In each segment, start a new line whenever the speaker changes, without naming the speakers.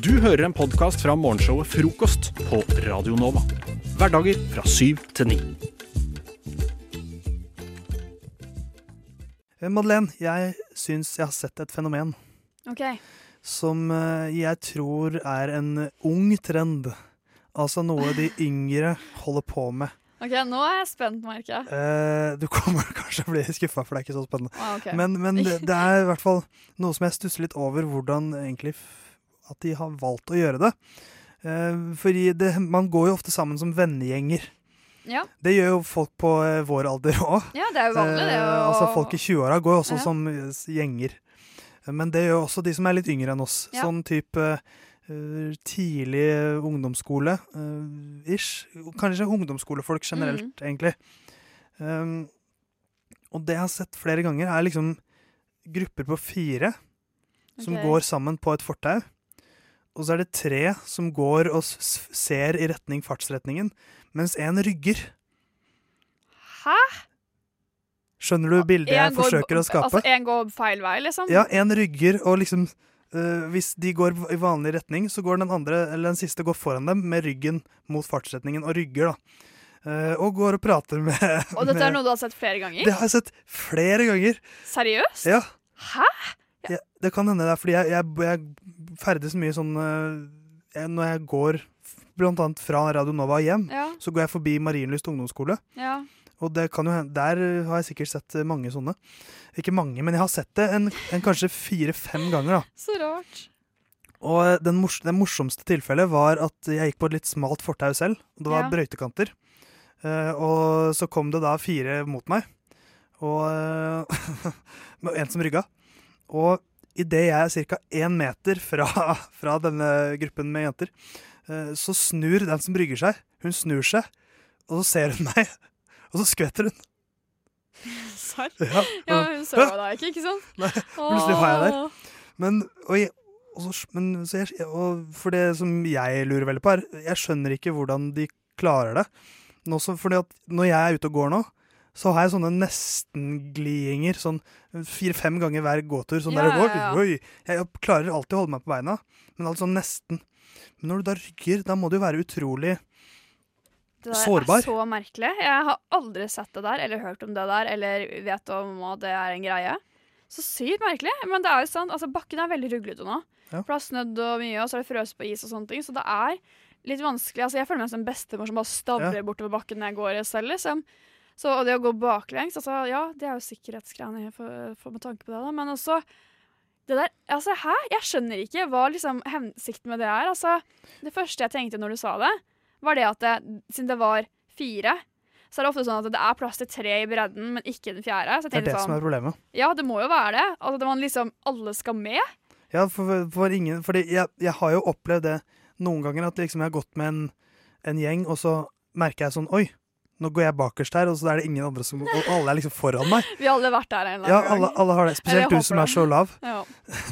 Du hører en podkast fra morgenshowet Frokost på Radio Nova. Hverdager fra syv til ni.
Eh, Madeleine, jeg syns jeg har sett et fenomen
Ok.
som eh, jeg tror er en ung trend. Altså noe de yngre holder på med.
Ok, nå er jeg spent, merker jeg.
Eh, du kommer kanskje til å bli skuffa, for det er ikke så spennende.
Ah, ok.
Men, men det, det er i hvert fall noe som jeg stusser litt over, hvordan egentlig f at de har valgt å gjøre det. Eh, fordi det, man går jo ofte sammen som vennegjenger.
ja.
Det gjør jo folk på eh, vår alder òg.
ja, det er jo vanlig, det.
Eh,
å-
altså Folk i 20-åra går jo også
Ja.
som eh, s- gjenger. Men det gjør også de som er litt yngre enn oss.
Ja.
Sånn type eh, tidlig eh, ungdomsskole-ish. Kanskje ungdomsskolefolk generelt,
Mm.
egentlig. Um, og det jeg har sett flere ganger, er liksom grupper på fire som
Ok.
går sammen på et fortau. Og så er det tre som går og s- s- ser i retning fartsretningen, mens én rygger.
Hæ?
Skjønner du bildet jeg
En går-
forsøker å skape?
Altså, en går feil vei, liksom?
Ja, én rygger, og liksom eh, Hvis de går i vanlig retning, så går den andre, eller den siste går foran dem med ryggen mot fartsretningen, og rygger, da. Eh, og går og prater med
Og dette er
med-
noe du har sett flere ganger?
Det har jeg sett flere ganger.
Seriøst?
Ja.
Hæ?
Ja, det kan hende det er fordi jeg, jeg, jeg ferdes mye sånn eh, jeg, Når jeg går f- blant annet fra Radio Nova og hjem,
Ja.
så går jeg forbi Marienlyst ungdomsskole.
ja.
Og det kan jo hende, der eh, har jeg sikkert sett eh, mange sånne. Ikke mange, men jeg har sett det en, en kanskje fire-fem ganger. da.
Så rart.
Og eh, den mors det morsomste tilfellet var at jeg gikk på et litt smalt fortau selv. og Det var
Ja.
brøytekanter. Eh, og så kom det da fire mot meg, og eh, med en som rygga. Og idet jeg er ca. én meter fra, fra denne gruppen med jenter, eh, så snur den som rygger seg, hun snur seg, og så ser hun meg, og så skvetter hun.
Serr?
Ja,
Ja, men hun så deg ikke, ikke sant?
Nei,
Plutselig
var jeg der. Men, og jeg, og så, men så jeg, og for det som jeg lurer veldig på, er Jeg skjønner ikke hvordan de klarer det. Nå som- fordi at når jeg er ute og går nå, så har jeg sånne nesten-glidinger sånn fire-fem ganger hver gåtur. Sånn
Ja,
der,
ja, ja.
oi, oi. Jeg klarer alltid å holde meg på beina, men alt sånn nesten. Men når du da rygger, da må du jo være utrolig
Det der
Sårbar.
er så merkelig. Jeg har aldri sett det der, eller hørt om det der, eller vet om at det er en greie. Så sykt merkelig. Men det er jo sant, altså bakken er veldig ruglete nå.
Ja.
For det har snødd og mye, og så er det frøs på is og sånne ting. Så det er litt vanskelig. Altså, jeg føler meg som en bestemor som bare stavrer
Ja.
bortover bakken når jeg går selv. Liksom. Så og det å gå baklengs, altså ja, det er jo sikkerhetsgreiene jeg får, får med tanke på det, da. Men også det der, altså hæ? Jeg skjønner ikke hva liksom hensikten med det er. Altså, det første jeg tenkte når du sa det, var det at det, siden det var fire, så er det ofte sånn at det er plass til tre i bredden, men ikke den fjerde. Så jeg
Det er
tenkte
det som
sånn,
er problemet.
ja, det må jo være det. Altså, det man liksom, alle skal med.
Ja, for, for ingen Fordi jeg, jeg har jo opplevd det noen ganger at liksom jeg har gått med en, en gjeng, og så merker jeg sånn Oi, nå går jeg bakerst her, og så er det ingen andre som Og alle er liksom foran meg.
Vi har alle vært der en eller
Ja,
annen
alle, alle har det. Spesielt
Eller jeg
du som
håper
er så lav.
gang. Ja.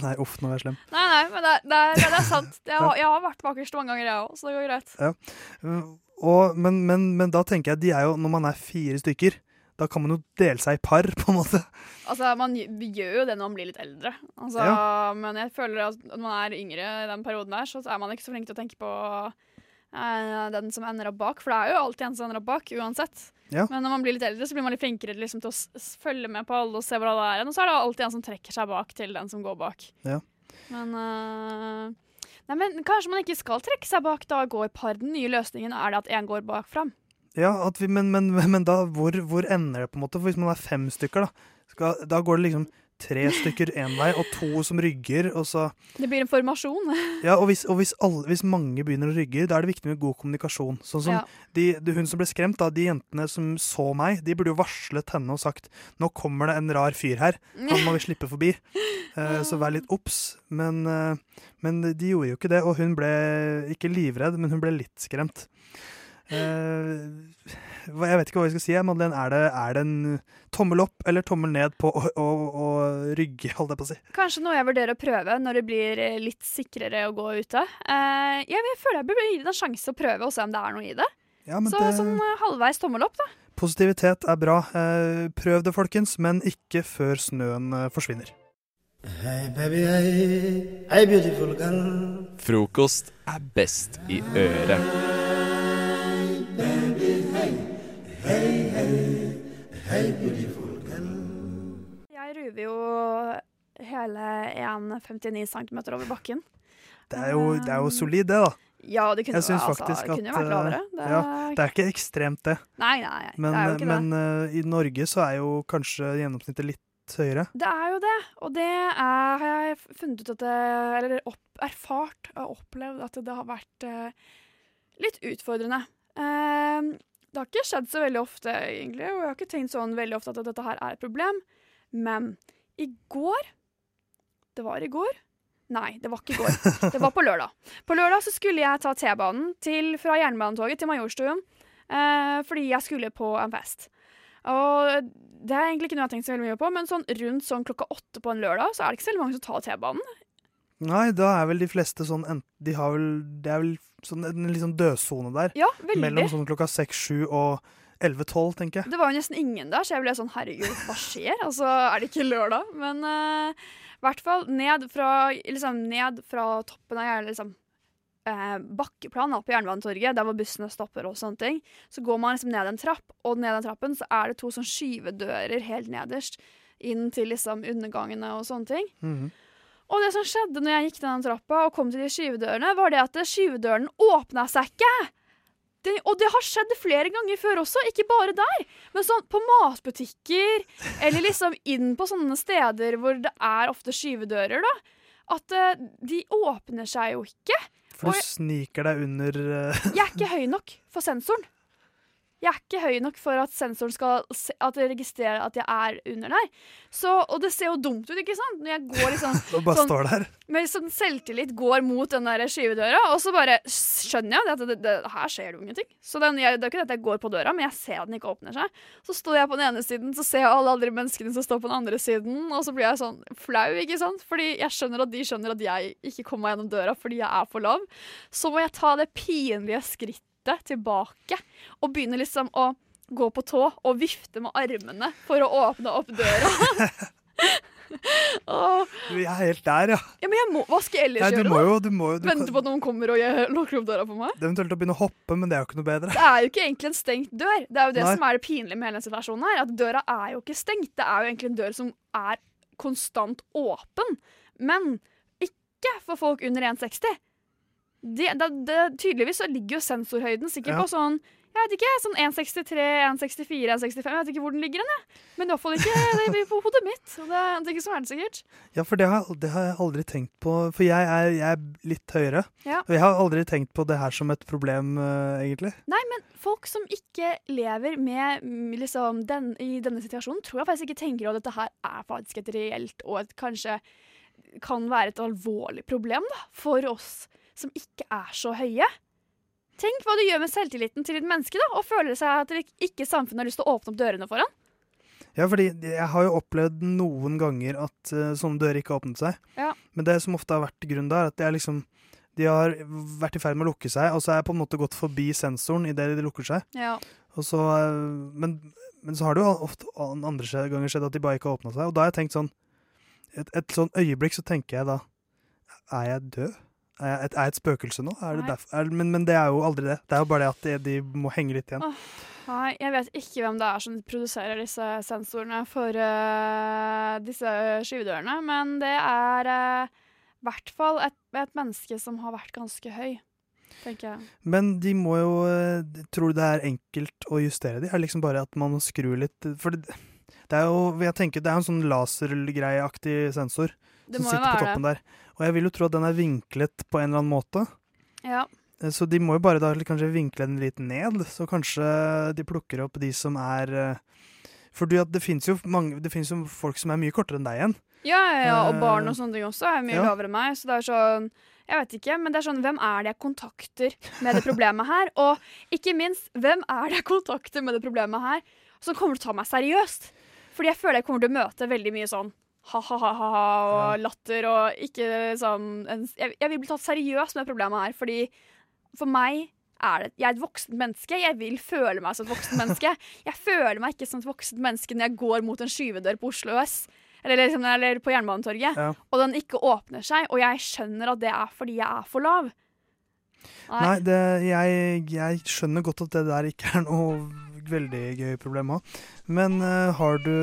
Nei, uff, nå er jeg slem.
Nei, nei, men det, er- det, er- det er sant. Jeg har, jeg har vært bakerst mange ganger, jeg òg, så det går greit.
Og, men, men, men da tenker jeg de er jo Når man er fire stykker, da kan man jo dele seg i par, på en måte.
Altså, Man gj- gjør jo det når man blir litt eldre, altså, men jeg føler at når man er yngre i den perioden der, så er man ikke så flink til å tenke på eh, den som ender opp bak, for det er jo alltid en som ender opp bak, uansett.
Ja.
Men når man blir litt eldre, så blir man litt flinkere til liksom, til å s s- følge med på alle og se hvor alle er, hen, og så er det alltid en som trekker seg bak til den som går bak.
Ja.
Men... eh, Nei, men Kanskje man ikke skal trekke seg bak, da gå i par. Den nye løsningen er det at én går bak fram.
Ja, at vi, men, men, men da, hvor, hvor ender det, på en måte? For hvis man er fem stykker, da, skal, da går det liksom tre stykker én vei, og to som rygger, og så
Det blir en formasjon.
Ja, og hvis, og hvis, alle, hvis mange begynner å rygge, da er det viktig med god kommunikasjon. Sånn som
Ja.
de, de, Hun som ble skremt, da, de jentene som så meg, de burde jo varslet henne og sagt nå kommer det en rar fyr her, han må vi slippe forbi. Eh, så vær litt obs. Men, eh, men de gjorde jo ikke det, og hun ble ikke livredd, men hun ble litt skremt. Eh, hva- jeg vet ikke hva jeg skal si. jeg, Madeleine, er det, er det en tommel opp eller tommel ned på å, å, å rygge, holdt jeg på å si?
Kanskje noe jeg vurderer å prøve når det blir eh, litt sikrere å gå ute. Eh, jeg, jeg føler jeg burde gi det en sjanse å prøve og se om det er noe i det.
Ja, men
Så
det-
sånn eh, halvveis tommel opp, da.
Positivitet er bra. Eh, Prøv det, folkens, men ikke før snøen eh, forsvinner.
Hey baby, hey, hey beautiful girl.
Frokost er best i øret.
Jeg ruver jo hele 1,59 cm over bakken.
Det er jo, det er jo solid, det, da.
Ja, det kunne,
Jeg syns
jo- altså,
faktisk
det kunne jo
at, eh,
vært lavere. Det,
ja, Det er ikke ekstremt, det.
nei, nei, nei,
Men,
det er jo ikke
men eh, i Norge så er jo kanskje gjennomsnittet litt høyere.
det. Det er jo det, og det er, har jeg funnet ut at det, Eller opp, erfart og opplevd at det har vært eh, litt utfordrende. Eh, det har ikke skjedd så veldig ofte, egentlig, og jeg har ikke tenkt sånn veldig ofte at dette her er et problem. Men i går Det var i går? Nei, det var ikke i går. Det var på lørdag. På lørdag så skulle jeg ta T-banen til, fra Jernbanetoget til Majorstuen eh, fordi jeg skulle på en fest. Og det er egentlig ikke noe jeg har tenkt så veldig mye på, men sånn rundt sånn klokka åtte på en lørdag så er det ikke så veldig mange som tar T-banen.
Nei, da er vel de fleste sånn ent- de har vel, Det er vel sånn en litt sånn dødsone der.
Ja, veldig.
Mellom sånn klokka seks, sju og elleve-tolv, tenker jeg.
Det var jo nesten ingen der, så jeg ble sånn herregud, hva skjer? Altså, er det ikke lørdag? Men eh, i hvert fall ned fra, liksom, ned fra toppen av jern- liksom, eh, bakkeplan da, på Jernbanetorget, der hvor bussene stopper og sånne ting, så går man liksom ned en trapp, og ned den trappen så er det to sånn skyvedører helt nederst inn til liksom undergangene og sånne ting.
Mhm.
Og det som skjedde når jeg gikk ned den trappa og kom til de skyvedørene, var det at skyvedøren åpna seg ikke. Det, og det har skjedd flere ganger før også, ikke bare der. Men sånn på matbutikker, eller liksom inn på sånne steder hvor det er ofte skyvedører, da. At eh, de åpner seg jo ikke.
For
Og
du
jeg-
sniker deg under eh,
Jeg er ikke høy nok for sensoren. Jeg er ikke høy nok for at sensoren skal se, at det registrerer at jeg er under der. Så, og det ser jo dumt ut, ikke sant? Når jeg går liksom
og bare
Sånn-
står der.
med sånn selvtillit går mot den der skyvedøra, og så bare skjønner jeg at det, det, det, her skjer det jo ingenting. Så den, jeg, det er ikke det at jeg går på døra, men jeg ser at den ikke åpner seg. Så står jeg på den ene siden, så ser jeg alle andre menneskene som står på den andre siden, og så blir jeg sånn flau, ikke sant? Fordi jeg skjønner at de skjønner at jeg ikke kommer meg gjennom døra fordi jeg er for lav. Så må jeg ta det pinlige skrittet tilbake og begynne liksom å gå på tå og vifte med armene for å åpne opp døra. Åh,
Du, Jeg er helt der, ja.
ja, men jeg må, hva skal jeg ellers
Nei,
gjøre?
du
da?
må jo du må, jo- du
Vente
kan-
på at noen kommer og gjør- lukker opp døra på meg?
det er Eventuelt å begynne å hoppe, men det er jo ikke noe bedre.
Det er jo ikke egentlig en stengt dør. Det er jo det
Nei.
som er det pinlige med hele denne situasjonen her. At døra er jo ikke stengt. Det er jo egentlig en dør som er konstant åpen. Men ikke for folk under 1,60. Det, det, det, tydeligvis så ligger jo sensorhøyden sikkert
Ja.
på sånn jeg vet ikke, sånn 1,63, 1,64, 1,65. Jeg vet ikke hvor den ligger hen, jeg. Men i hvert fall ikke det er på hodet mitt. Og det, er- det er ikke så verdt sikkert.
Ja, for det har, det har jeg aldri tenkt på. For jeg er, jeg er litt høyere.
Ja.
Og jeg har aldri tenkt på det her som et problem, eh, egentlig.
Folk som ikke lever med mm, liksom, den, i denne situasjonen, tror jeg faktisk ikke tenker at dette her er faktisk et reelt og et, kanskje kan være et alvorlig problem da, for oss som ikke er så høye. Tenk hva det gjør med selvtilliten til et menneske da, og føler seg at det ikke- ikke samfunnet har lyst til å åpne opp dørene for ham.
Ja, fordi jeg har jo opplevd noen ganger at eh, sånne dører ikke har åpnet seg.
Ja.
Men det som ofte har vært grunnen da, er at jeg liksom de har vært i ferd med å lukke seg, og så er jeg på en måte gått forbi sensoren idet de lukker seg. Og så, eh, men, men så har det jo ofte an- andre skje- ganger skjedd at de bare ikke har åpna seg. Og da har jeg tenkt sånn et, et sånn øyeblikk så tenker jeg da Er jeg død? Er jeg et, er jeg et spøkelse nå? Er det
Nei.
derfor, er, men, men det er jo aldri det. Det er jo bare det at de, de må henge litt igjen.
Åh. Nei, jeg vet ikke hvem det er som produserer disse sensorene for eh, disse skyvedørene, men det er eh, i hvert fall et, et menneske som har vært ganske høy, tenker jeg.
Men de må jo eh, de- Tror du det er enkelt å justere de? Er det liksom bare at man må skru litt For det, det er jo jeg tenker, det er jo en sånn lasergreieaktig sensor
Det
som
må jo
sitter på
være det.
toppen der. Og jeg vil jo tro at den er vinklet på en eller annen måte.
Ja.
Eh, Så de må jo bare da kanskje vinkle den litt ned, så kanskje de plukker opp de som er eh, Fordi at det fins jo, mange- det finnes jo folk som er mye kortere enn deg igjen.
Ja, ja, ja, og
Eh,
barn og sånne ting også er mye
ja.
lavere enn meg, så det er sånn Jeg vet ikke, men det er sånn Hvem er det jeg kontakter med det problemet her? Og ikke minst, hvem er det jeg kontakter med det problemet her som kommer til å ta meg seriøst? Fordi jeg føler jeg kommer til å møte veldig mye sånn ha-ha-ha-ha og latter og ikke sånn en, jeg, jeg vil bli tatt seriøst med det problemet her, fordi for meg er det, jeg er et voksent menneske. Jeg vil føle meg som et voksent menneske. Jeg føler meg ikke som et voksent menneske når jeg går mot en skyvedør på Oslo S. eller, liksom, eller på Jernbanetorget,
Ja.
og den ikke åpner seg, og jeg skjønner at det er fordi jeg er for lav. Nei.
Nei, det, jeg, jeg skjønner godt at det der ikke er noe veldig gøy problem å ha. Men eh, har du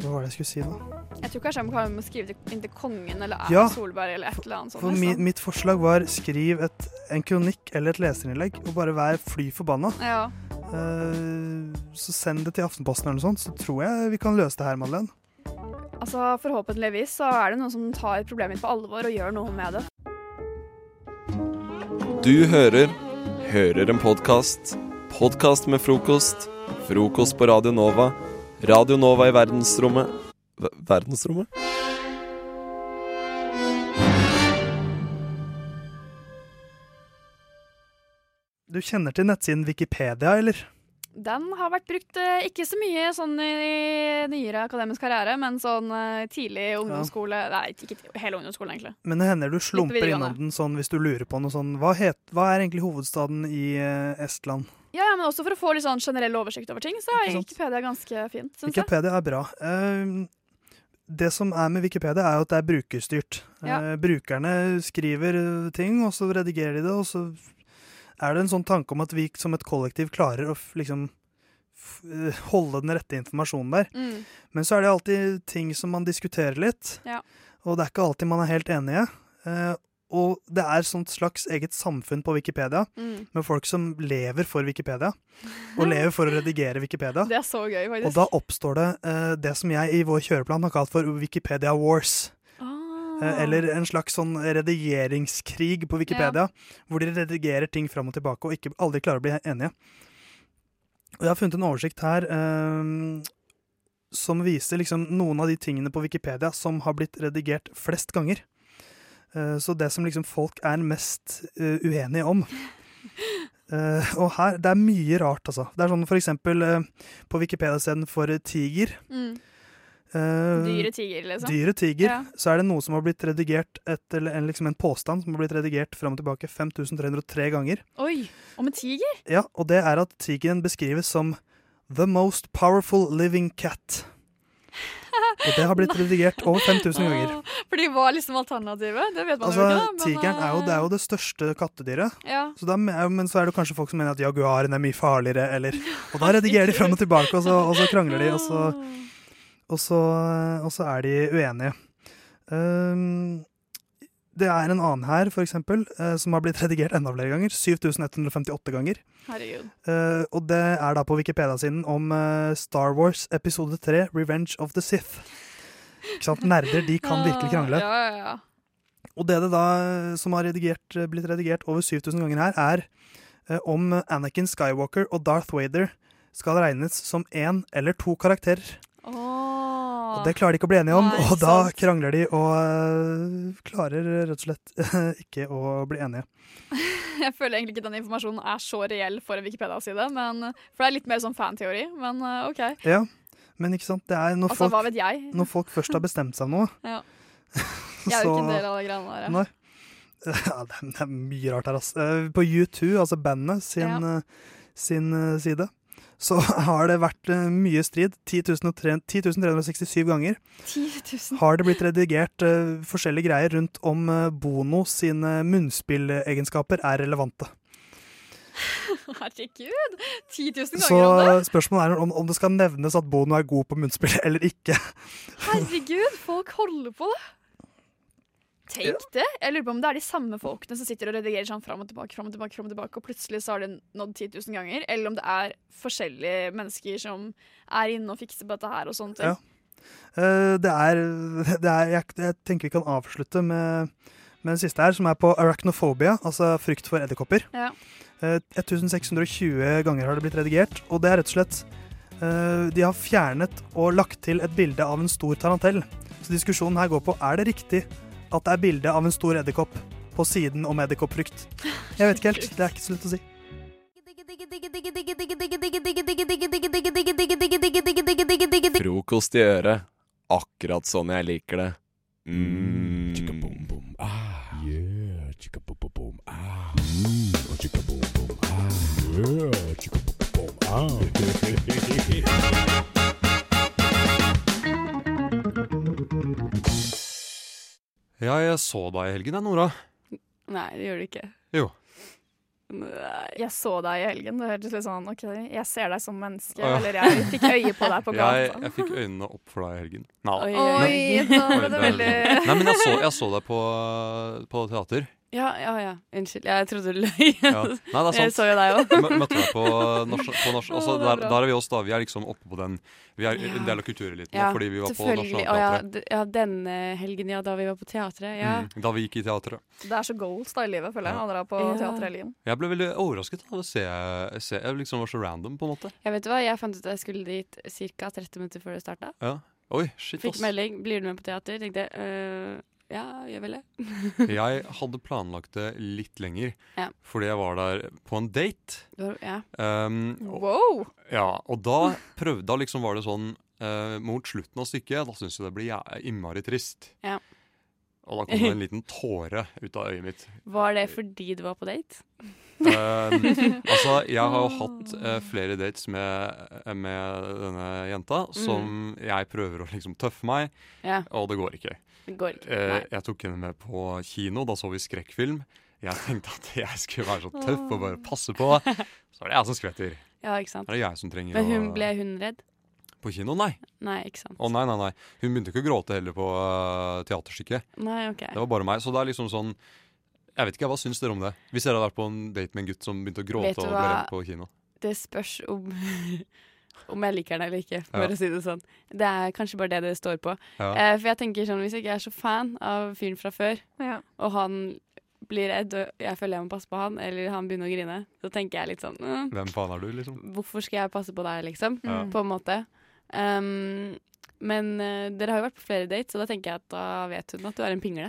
Hva var det jeg skulle si, da?
Jeg tror kanskje jeg må kan- må skrive til- inn til kongen eller Erna
Ja.
Solberg eller et eller annet sånt.
For mi,
liksom.
mitt forslag var skriv et, en kronikk eller et leserinnlegg og bare vær fly forbanna.
Ja.
Eh, så send det til Aftenposten eller noe sånt, så tror jeg vi kan løse det her, Madeleine.
Altså, forhåpentligvis så er det noen som tar problemet mitt på alvor og gjør noe med det.
Du hører Hører en podkast. Podkast med frokost. Frokost på Radio Nova. Radio Nova i verdensrommet Ver- Verdensrommet?
Du kjenner til nettsiden Wikipedia, eller?
Den har vært brukt eh, ikke så mye sånn i nyere akademisk karriere, men sånn eh, tidlig ungdomsskole Nei, ikke ti- hele ungdomsskolen, egentlig.
Men det hender du slumper
videregående.
innom den sånn hvis du lurer på noe sånn Hva, het, hva er egentlig hovedstaden i eh, Estland?
Ja, ja, men også for å få litt sånn generell oversikt over ting, så er
Ikke sant.
Wikipedia ganske fint, syns jeg.
Wikipedia er bra. Eh, det som er med Wikipedia, er jo at det er brukerstyrt.
Ja.
Eh, brukerne skriver eh, ting, og så redigerer de det, og så er det en sånn tanke om at vi som et kollektiv klarer å f- liksom f eh, holde den rette informasjonen der.
Mm.
Men så er det alltid ting som man diskuterer litt,
Ja.
og det er ikke alltid man er helt enige. Eh, og det er sånt slags eget samfunn på Wikipedia,
Mm.
med folk som lever for Wikipedia, og lever for å redigere Wikipedia.
Det er så
Ah.
gøy,
Og
faktisk.
da oppstår det eh, det som jeg i vår kjøreplan har kalt for Wikipedia Wars.
Ah.
Eh, eller en slags sånn redigeringskrig på Wikipedia, hvor de redigerer ting fram og tilbake og ikke, aldri klarer å bli enige. Og jeg har funnet en oversikt her eh, som viser liksom noen av de tingene på Wikipedia som har blitt redigert flest ganger. Eh, så det som liksom folk er mest eh, uenige om. Eh, og her, det er mye rart, altså. Det er sånn for eksempel eh, på Wikipedia-siden for tiger.
mm.
Uh,
Dyre tiger, liksom.
Dyret tiger.
Ja.
Så er det noe som har blitt redigert et, eller en, liksom en påstand som har blitt redigert fram og tilbake 5303 ganger.
Oi! Om en tiger?
Ja, og det er at tigeren beskrives som the most powerful living cat. Og det har blitt redigert over 5000 ganger.
Ah, For de var liksom alternativet? Det vet man
Altså,
jo ikke, da. men,
tigeren er jo, det er
eh,
jo det største kattedyret.
ja.
Så da, me- men så er det kanskje folk som mener at jaguaren er mye farligere, eller Og da redigerer de fram og tilbake, og så, og så krangler de, og så og så, og så er de uenige. Ehm, det er en annen her, for eksempel, eh, som har blitt redigert enda flere ganger. 7158 ganger.
Herregud.
Eh, og det er da på Wikipedia-siden om eh, Star Wars episode 3, 'Revenge of the Sith'. Ikke sant? Nerder de kan virkelig krangle.
Ah, Ja, ja, ja.
Og det det da eh, som har redigert, blitt redigert over 7000 ganger her, er eh, om Anakin Skywalker og Darth Vader skal regnes som én eller to karakterer.
Åh.
Og det klarer de ikke å bli enige om,
Nei,
og da
sant.
krangler de og øh, klarer rett og slett ikke å bli enige.
Jeg føler egentlig ikke den informasjonen er så reell for en Wikipedia-side. men- For det er litt mer sånn fanteori, men eh, OK.
Ja, men ikke sant, det er når,
Altså, hva
folk,
vet jeg?
når folk først har bestemt seg om noe,
Ja. Jeg er jo
så
ikke en del av de greiene der.
Nei. ja, det, er, det er mye rart her, ass. Eh, På U2, altså bandet sin,
Ja.
eh, sin eh, side, så har det vært eh, mye strid. 10.300 10.367 ganger
10 000.
har det blitt redigert eh, forskjellige greier rundt om eh, Bono sine munnspillegenskaper er relevante.
Herregud! 10 000
Så
ganger om det?
spørsmålet er om, om det skal nevnes at Bono er god på munnspill eller ikke.
Herregud, folk holder på det! Tenk det! Jeg lurer på om det er de samme folkene som sitter og redigerer sånn fram og tilbake, fram og tilbake, frem og tilbake, og plutselig så har de nådd 10 000 ganger. Eller om det er forskjellige mennesker som er inne og fikser på dette her og sånne ting.
Ja. Eh, det er, det er jeg, jeg tenker vi kan avslutte med, med den siste her, som er på arachnophobia, altså frykt for edderkopper.
Ja.
Eh, 1620 ganger har det blitt redigert, og det er rett og slett eh, De har fjernet og lagt til et bilde av en stor tarantell. Så diskusjonen her går på er det riktig at det er bilde av en stor edderkopp på siden om edderkoppfrykt. Jeg vet ikke helt. Det er ikke så lett å si.
Frokost i øret. Akkurat sånn jeg liker det. Mm.
Ja, jeg så deg i helgen, jeg, Nora.
Nei, det gjør du ikke.
Jo.
Nei, Jeg så deg i helgen. Det hørtes litt sånn OK, jeg ser deg som menneske.
Å, ja.
Eller jeg fikk øye på deg på
Jeg,
gata.
jeg fikk øynene opp for deg i helgen. Nei,
Oi,
da.
oi, nå ble det
Oi,
veldig
det Nei men jeg så, jeg så deg på, på teater.
Ja, ja, ja. Unnskyld. Jeg trodde du løy.
Ja. Nei, det er
Jeg
sant.
så jo deg òg.
Mø- Møtte deg på nasjon... På nasjon altså,
Å, det er
der,
bra.
der er vi oss, da. Vi er liksom oppe på den Vi er en del av kultureliten nå,
Ja,
fordi vi var på
Selvfølgelig. Å ja,
Nationaltheatret.
d- ja, denne helgen, ja, da vi var på teatret. Ja.
Mm, da vi gikk i teatret.
Det er så goals da i livet, føler jeg, å dra på
Ja.
teaterhelgen.
Jeg ble veldig overrasket av å se, se Jeg liksom var så random, på en måte.
Jeg vet du hva, jeg fant ut at jeg skulle dit ca. 30 minutter før det starta.
Ja. Oi, shit,
Fikk
ass.
melding 'Blir du med på teater?' tenkte jeg «Øh, ja, gjør vel det.
Jeg hadde planlagt det litt lenger,
Ja.
fordi jeg var der på en date.
Det var- Ja.
Um, og,
Wow!
ja, og da prøvde Da liksom var det sånn eh, Mot slutten av stykket, da syns jeg det ble jæ- innmari trist.
Ja.
Og da kom det en liten tåre ut av øyet mitt.
Var det fordi du var på date?
Um, altså, jeg har jo hatt eh, flere dates med, med denne jenta, som
Mm.
jeg prøver å liksom tøffe meg,
Ja,
og det går ikke.
det går ikke.
Eh,
Nei.
jeg tok henne med på kino, da så vi skrekkfilm. Jeg tenkte at jeg skulle være så tøff og bare passe på. Så er det jeg som skvetter.
Ja, ikke sant.
Det er jeg som trenger
Men hun
å
ble hun redd?
På kino, nei.
Nei, ikke sant.
Å nei, nei, nei. Hun begynte ikke å gråte heller på eh, teaterstykket.
Nei, ok.
Det var bare meg. Så det er liksom sånn Jeg vet ikke, hva syns dere om det? Hvis dere hadde vært på en date med en gutt som begynte å
Vet
gråte
du
og ble
hva?
redd på kino.
Det spørs om Om jeg liker den eller ikke, for å
Ja.
si det sånn. Det er kanskje bare det det står på.
Ja.
Eh, for jeg tenker sånn, hvis jeg ikke er så fan av fyren fra før,
Ja.
og han blir redd, og jeg føler jeg må passe på han, eller han begynner å grine, så tenker jeg litt sånn «Mm,
Hvem faen er du, liksom?
Hvorfor skal jeg passe på deg, liksom?
Ja.
Mm.
På en måte. Um, men eh, dere har jo vært på flere dates, så da tenker jeg at da vet hun at du er en pingle.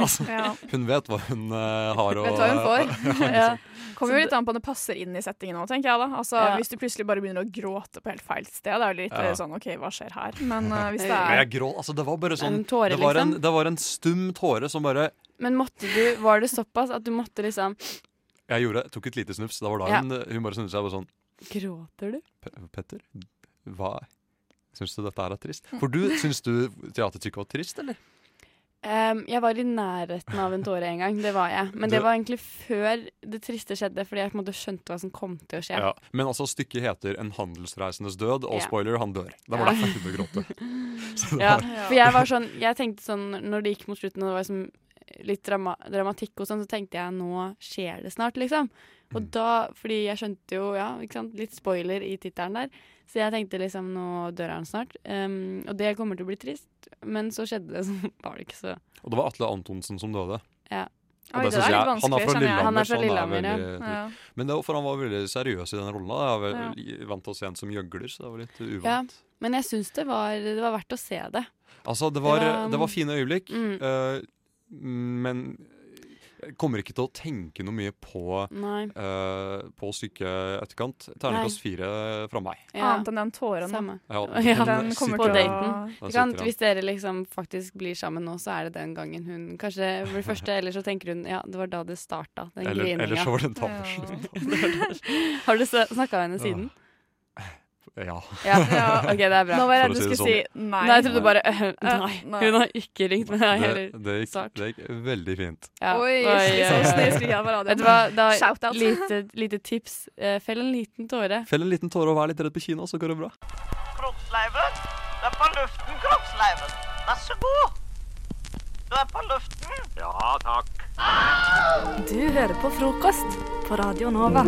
altså,
Ja.
hun vet hva hun eh, har å
Vet du hva hun får?
Ja.
Kommer
Så
jo litt an på om det passer inn i settingen òg, tenker jeg da. Altså,
Ja.
Hvis du plutselig bare begynner å gråte på helt feil sted, det er jo litt
Ja.
eh, sånn OK, hva skjer her? Men eh, hvis det
Men
er
jeg grå, altså, det var bare sånn
en tåre,
det, var en,
liksom.
det var en stum tåre som bare
Men måtte du, var det såpass at du måtte liksom
Jeg gjorde, tok et lite snufs. Det var da
Ja.
hun, hun bare snudde seg og var sånn
Gråter du?
«Pe- Petter, hva Syns du dette her er trist? For du, syns du teaterstykket var trist, eller?
Um, jeg var i nærheten av en tåre en gang, det var jeg. Men
Du-
det var egentlig før det triste skjedde, fordi jeg på en måte skjønte hva som kom til å skje.
Ja. Men altså, stykket heter 'En handelsreisendes død', og
Ja.
spoiler, han dør. Det var
Ja.
derfor jeg begynte å gråte. Så det
Ja,
var-
for jeg var sånn Jeg tenkte sånn Når det gikk mot slutten Og det var liksom litt drama dramatikk og sånn Så tenkte jeg Nå skjer det snart liksom Og
Mm.
da Fordi jeg skjønte jo Ja, ikke sant Litt spoiler i tittelen der Så jeg tenkte liksom Nå dør han snart um, Og det kommer til å bli trist Men så skjedde det Så var det ikke så
Og det var Atle Antonsen som døde.
Ja.
Og
Oi,
det
det
synes
er
jeg,
litt
han er
vanskelig,
fra
skjønner jeg.
Lillehammer,
Han er fra
så
Lillehammer,
veldig,
ja.
Men det var for han var veldig seriøs i den rollen. da. Jeg var vel- vant til å se en som gjøgler, så det var litt uvant.
Men jeg synes det var Det var verdt å se det
Altså, det var,
Det var-
det var fine øyeblikk,
Mm.
eh, men jeg kommer ikke til å tenke noe mye på
Nei
Uh, på stykket etterkant. Terningkast fire fra meg.
ja,
Annet enn den tåren. da.
Samme
Ja,
Ja,
Den
sitter
kommer
på
til
igjen.
å
daten.
Den
Det kan,
sitter igjen.
hvis dere liksom faktisk blir sammen nå, så er det den gangen hun Kanskje blir første, eller så tenker hun Ja, det var da det starta, den
Eller,
grininga.
eller så var det en
Ja.
tapperslutt.
Har du snakka med henne siden?
Ja.
Ja, ok, det er bra.
Nå var jeg redd
For å
du
si det
skulle
sånn.
si nei.
Nei, jeg trodde bare øh,
Eh,
Nei,
nei.
hun har ikke ringt meg.
Det,
heller.
det, gikk,
Start.
det gikk veldig fint.
Ja.
Oi,
ja,
så
ja, ja.
snill jeg
Vet
på
du
radioen.
hva, da
Shout-out.
lite, lite tips. Eh, Fell en liten tåre.
Fell en liten tåre og vær litt redd på kino, så går det bra.
Kroppsleiven. Du er på luften, Kroppsleiven. Vær så god. Du er på luften. Ja, takk.
Du hører på frokost på Radio Nova.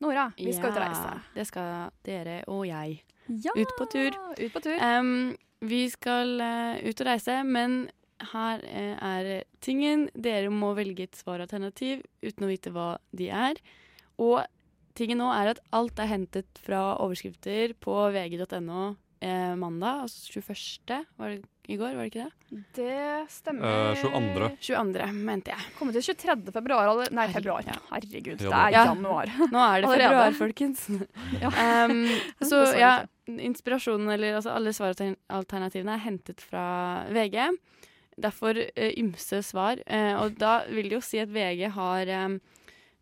Nora, vi skal ut og reise.
Ja, Det skal dere og jeg.
Ja,
Ut på tur. Eh,
Ut på tur.
Em, vi skal eh, ut og reise, men her eh, er tingen. Dere må velge et svaralternativ uten å vite hva de er. Og tingen nå er at alt er hentet fra overskrifter på vg.no eh, mandag, altså 21. Var det i går, var det ikke det?
Det stemmer.
Eh, 22..
22. mente jeg.
Kommer til 23. februar. alle- Nei,
Herregud.
februar.
Ja.
Herregud, det
Januar.
er
Ja.
januar.
Nå er det februar,
Allerede.
folkens. um, så
Dessverre
ja, inspirasjonen, eller altså alle svaralternativene, er hentet fra VG. Derfor eh, ymse svar. Eh, og ehm, da vil det jo si at VG har um,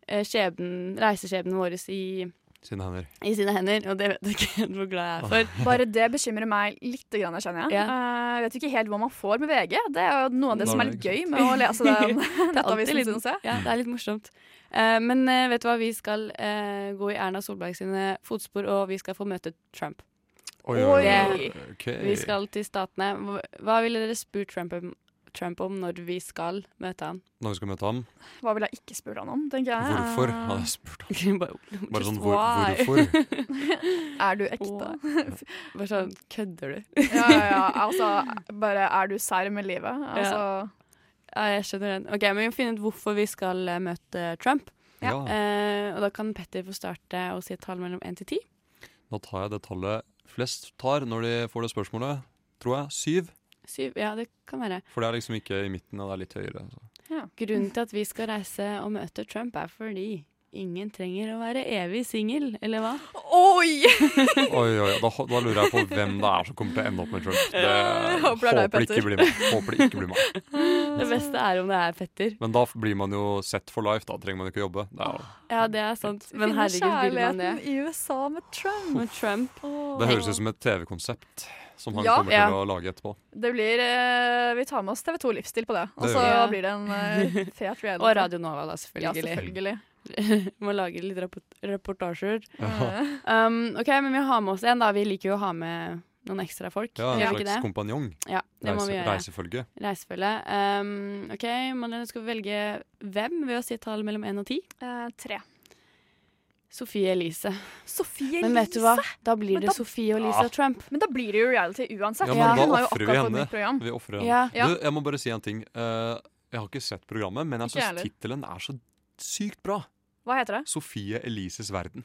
skjebnen, reiseskjebnen eh, vår i
sine hender.
i sine hender, og det vet jeg ikke helt hvor glad jeg er for.
Bare det bekymrer meg litt, grann, jeg kjenner jeg.
Ja.
Eh, jeg vet ikke helt hva man får med VG. Det er jo noe av det
Da
som
er
er
det
litt gøy med å lese den
Det er alltid
nettavisen,
litt,
synes jeg.
ja, det er litt morsomt. Eh, men eh, vet du hva, vi skal eh, gå i Erna Solberg sine fotspor, og vi skal få møte Trump. Oi.
Ok.
Vi skal til statene. Hva- Hva ville dere spurt Trump om, Trump om når vi skal møte han?
Når vi skal møte ham.
Hva ville jeg ikke spurt han om, tenker jeg.
Hvorfor?
Eh,
hadde jeg spurt om.
bare,
Bare sånn
just
hvor,
why?
hvorfor?
Er du ekte?
Why? Bare sånn, kødder du?
Ja, ja, ja. Altså, bare er du sær med livet? Altså,
Ja, jeg skjønner den. Ok, men Vi må finne ut hvorfor vi skal eh, møte Trump.
Ja.
Eh, og Da kan Petter få starte og si et tall mellom 1 til 10.
Da tar jeg det tallet flest tar når de får det spørsmålet, tror jeg. Syv.
7, ja, det kan være.
For det er liksom ikke i midten, og det er litt høyere. Så.
Grunnen til at vi skal reise og møte Trump, er fordi ingen trenger å være evig singel, eller hva?
Oi!
Oi, oi, da, da lurer jeg på hvem det er som kommer til å ende opp med Trump. Det,
Jeg håper det er deg, Petter.
ikke blir meg. Håper det ikke blir meg.
Det beste er om det er Petter.
Men da blir man jo set for life. Da trenger man ikke jobbe. Det, er, jo-
Ja, det er sant. Men
Finner
herregud, vil man det?
kjærligheten i USA med Trump.
Med Trump.
det høres ut som et TV-konsept som han
Ja.
kommer
Ja.
til å lage etterpå.
Det blir eh, Vi tar med oss TV2 Livsstil på det. Og
Det
så
gjør vi.
blir det en eh, fet reality.
Og Radio Nova, da,
Ja,
selvfølgelig.
selvfølgelig.
Må lage litt rapport reportasjer.
Eh,
Ja,
Um, OK, men vi har med oss en, da. Vi liker jo å ha med noen ekstra folk.
ja
Gjør
En
vi ikke
slags
det?
kompanjong.
Ja, det må vi
Reise,
gjøre.
reisefølge.
Reisefølge. Um, OK, Madeleine skal velge hvem ved å si et tall mellom 1 og 10.
Eh, tre.
Sofie Elise.
Sofie
Men vet du hva?
Elise!
Da blir
Men
det
da-
Sofie og Lisa
Ja.
Trump.
Men da blir det jo reality uansett.
Ja,
men
Hun
hva
har jo
ofrer vi
akkurat fått
henne?
nytt program.
Vi offrer henne.
Ja.
Ja.
Du, jeg må bare si en ting. Eh, jeg har ikke sett programmet, men jeg
Ikke jeg
syns
heller.
tittelen er så sykt bra.
Hva heter det?
Sofie Elises verden.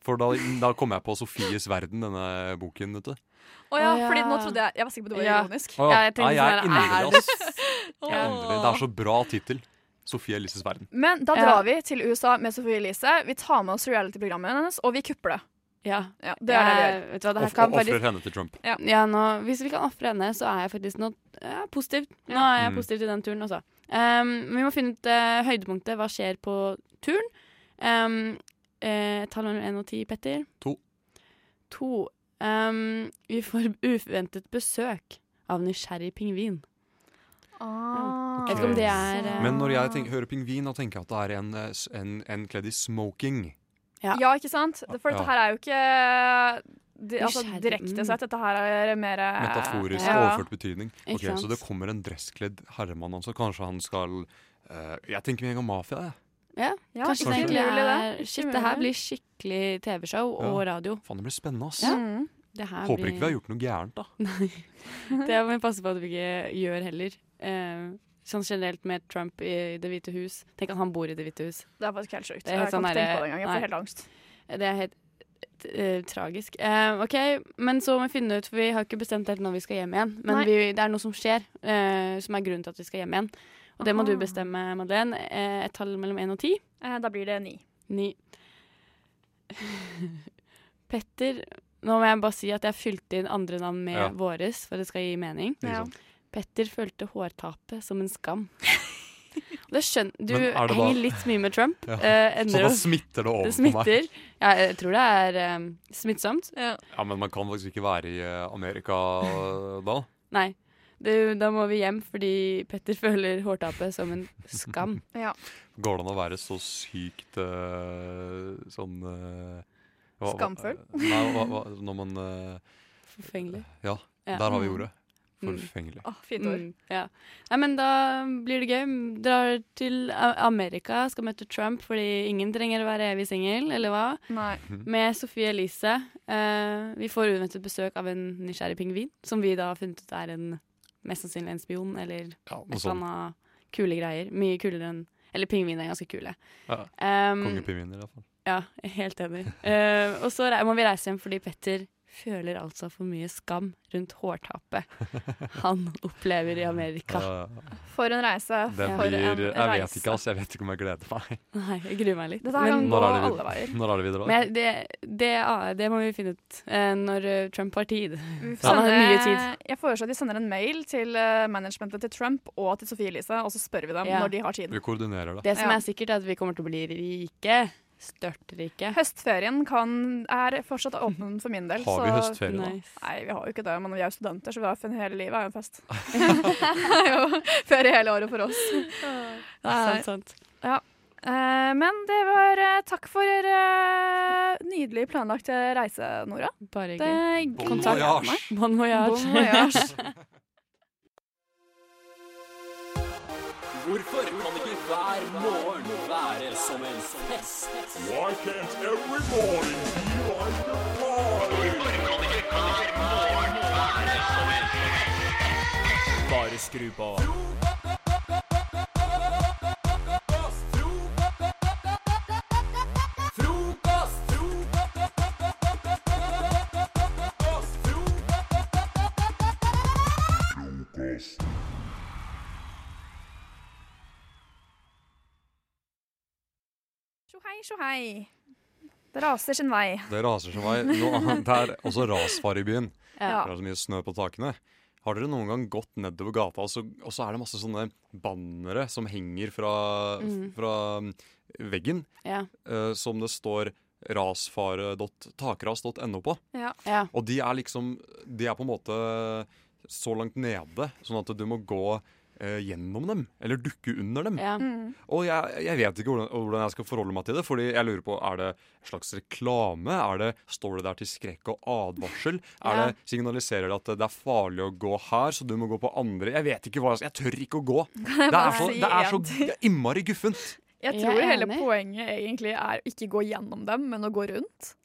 For da, da kom jeg på Sofies verden, denne boken, vet du.
Å ja,
Å ja.
fordi nå trodde jeg Jeg var sikker på at det var
Ja.
ironisk.
Å,
Ja, jeg tenkte
Nei, jeg er
sånn her,
inderlig,
er
ass. Jeg er inderlig. Det er så bra tittel. Sofie Elises verden.
Men da
Ja.
drar vi til USA med Sofie Elise. Vi tar med oss reality-programmet hennes, og vi kupper det.
Ja.
Ja, det er det vi gjør.
Jeg- Vet du hva, det her
Og
kan
ofrer
faktisk
henne til Trump.
ja, nå, Hvis vi kan ofre henne, så er jeg faktisk nå ja, positiv. Nå er jeg
Mm.
positiv til den turen også. Um, vi må finne ut eh, høydepunktet. Hva skjer på turen? Um, eh, tall mellom 1 og 10, Petter?
To.
To. Um, vi får uventet besøk av nysgjerrig pingvin.
Ah.
Jeg vet ikke om det er eh,
Men når jeg tenk, hører pingvin, da tenker jeg at det er en, eh, s- en, en kledd i smoking.
Ja.
Ja, ikke sant? Det- For
Ja.
dette her er jo ikke di- altså,
Nysgjerrig,
direkte
mm.
sett. Dette her er mer eh,
Metaforisk
Ja.
overført betydning.
Ikke
Ok, Så
sant?
det kommer en dresskledd herremann også. Kanskje han skal eh, Jeg tenker med en gang mafia, jeg.
Ja,
Kanskje
ikke
det egentlig
mulig,
er
Ikke
Shit, det her
mulig.
blir skikkelig TV-show
Ja.
og radio.
Faen, det blir spennende, ass.
Mm.
Det her
Håper
blir...
ikke vi har gjort noe gærent, da.
Det må vi passe på at vi ikke gjør heller. Eh, sånn generelt med Trump i Det hvite hus. Tenk at han bor i Det hvite hus.
Det er faktisk helt sjukt.
Det er helt
jeg kan
sånn
ikke tenke
der-
på det engang. Jeg
nei.
får helt angst.
Det er helt eh, tragisk. Eh, OK, men så må vi finne ut, for vi har ikke bestemt helt når vi skal hjem igjen. Men
Nei.
vi, det er noe som skjer, eh, som er grunnen til at vi skal hjem igjen. Og det må du
Aha.
bestemme, Madeleine. Eh, et tall mellom én og ti.
Eh, Da blir det ni.
Ni. Petter Nå må jeg bare si at jeg fylte inn andre navn med
Ja.
våres, for det skal gi mening.
Ikke
Ja.
sant?
Petter følte hårtapet som en skam. Og Det skjønner, du
Men er det da-
henger litt mye med Trump.
Ja.
eh,
Så
ender
da
opp-
smitter det over
det
på meg.
smitter. Ja, jeg tror det er eh, smittsomt.
Ja, Men man kan faktisk ikke være i eh, Amerika eh, da.
Nei. Du, da må vi hjem fordi Petter føler hårtapet som en skam.
Går det an å være så sykt eh, sånn eh, hva- hva-
Skamfull?
Nei, hva, hva, når man eh,
Forfengelig.
Ja,
Ja.
der har vi ordet.
Mm.
Forfengelig.
Å, fint ord.
Mm, ja. Nei, men da blir det gøy. Drar til A- Amerika, skal møte Trump fordi ingen trenger å være evig singel, eller hva?
Nei.
Med Sofie Elise. Eh, vi får uventet besøk av en nysgjerrig pingvin, som vi da har funnet ut er en, mest sannsynlig en spion, eller
Ja,
et
noe
eller
sånn sånt.
annet kule greier. Mye kulere enn Eller pingviner er ganske kule.
Ja.
Um,
Kongepingviner, i hvert fall.
ja, helt enig. Eh, og så rei- må vi reise hjem fordi Petter føler altså for mye skam rundt hårtapet han opplever i Amerika.
Eh,
For en reise.
det
Ja.
for
blir
en
Jeg vet
reise.
ikke, altså. ass. Jeg vet ikke om jeg gleder meg.
Nei, jeg gruer meg litt.
Dette her kan
Men,
gå
Når er det
alle
vi-
veier.
Når er det vi drar?
men jeg- det, det, ah, det må vi finne ut eh, når eh, Trump har tid.
Vi
Ja, det er mye
sender- Jeg foreslår at de sender en mail til eh, managementet til Trump og til Sofie Elise, og så spør vi dem
Ja.
når de har tid.
Vi koordinerer det.
Det som
Ja.
er sikkert, er at vi kommer til å bli rike. Størtrike.
Høstferien kan, er fortsatt åpen for min del.
Har vi
så-
høstferie nå?
Nice.
Nei, vi har jo ikke det, men vi er jo studenter, så vi har fun hele livet er jo en fest. Det er jo ferie hele året for oss.
Sant, sant.
Eh, men det var eh, Takk for eh, nydelig planlagt eh, reise, Nora. Eh,
Bare
Det
hyggelig.
Bon
Kontakt
voyage.
Bon
Bon
voyage.
voyage.
Hvorfor kan ikke hver morgen være som en fest? Why can't every morning be like a party? Hvorfor kan ikke hver morgen være som en fest? Bare skru på.
Tjohei, tjohei. Det raser sin vei.
Det raser som vei. Noe annet er også rasfare i byen.
Ja.
Det er så mye snø på takene. Har dere noen gang gått nedover gata, og så, og så er det masse sånne bannere som henger fra,
Mm.
fra um, veggen,
Ja.
eh, som det står rasfare.takras.no på.
ja.
Og de er liksom De er på en måte så langt nede, sånn at du må gå eh, gjennom dem, eller dukke under dem.
ja.
Mm.
Og jeg, jeg vet ikke hvordan, hvordan jeg skal forholde meg til det, fordi jeg lurer på, er det en slags reklame? Er det, står det der til skrekk og advarsel? Er
Ja.
det, signaliserer det at det er farlig å gå her, så du må gå på andre? Jeg vet ikke hva, jeg tør ikke å gå. Det er
bare
så,
si
det er
en
så
ting?
det er innmari guffent.
Jeg
Jeg
tror
er
hele
enig.
poenget egentlig er å ikke gå gjennom dem, men å gå rundt.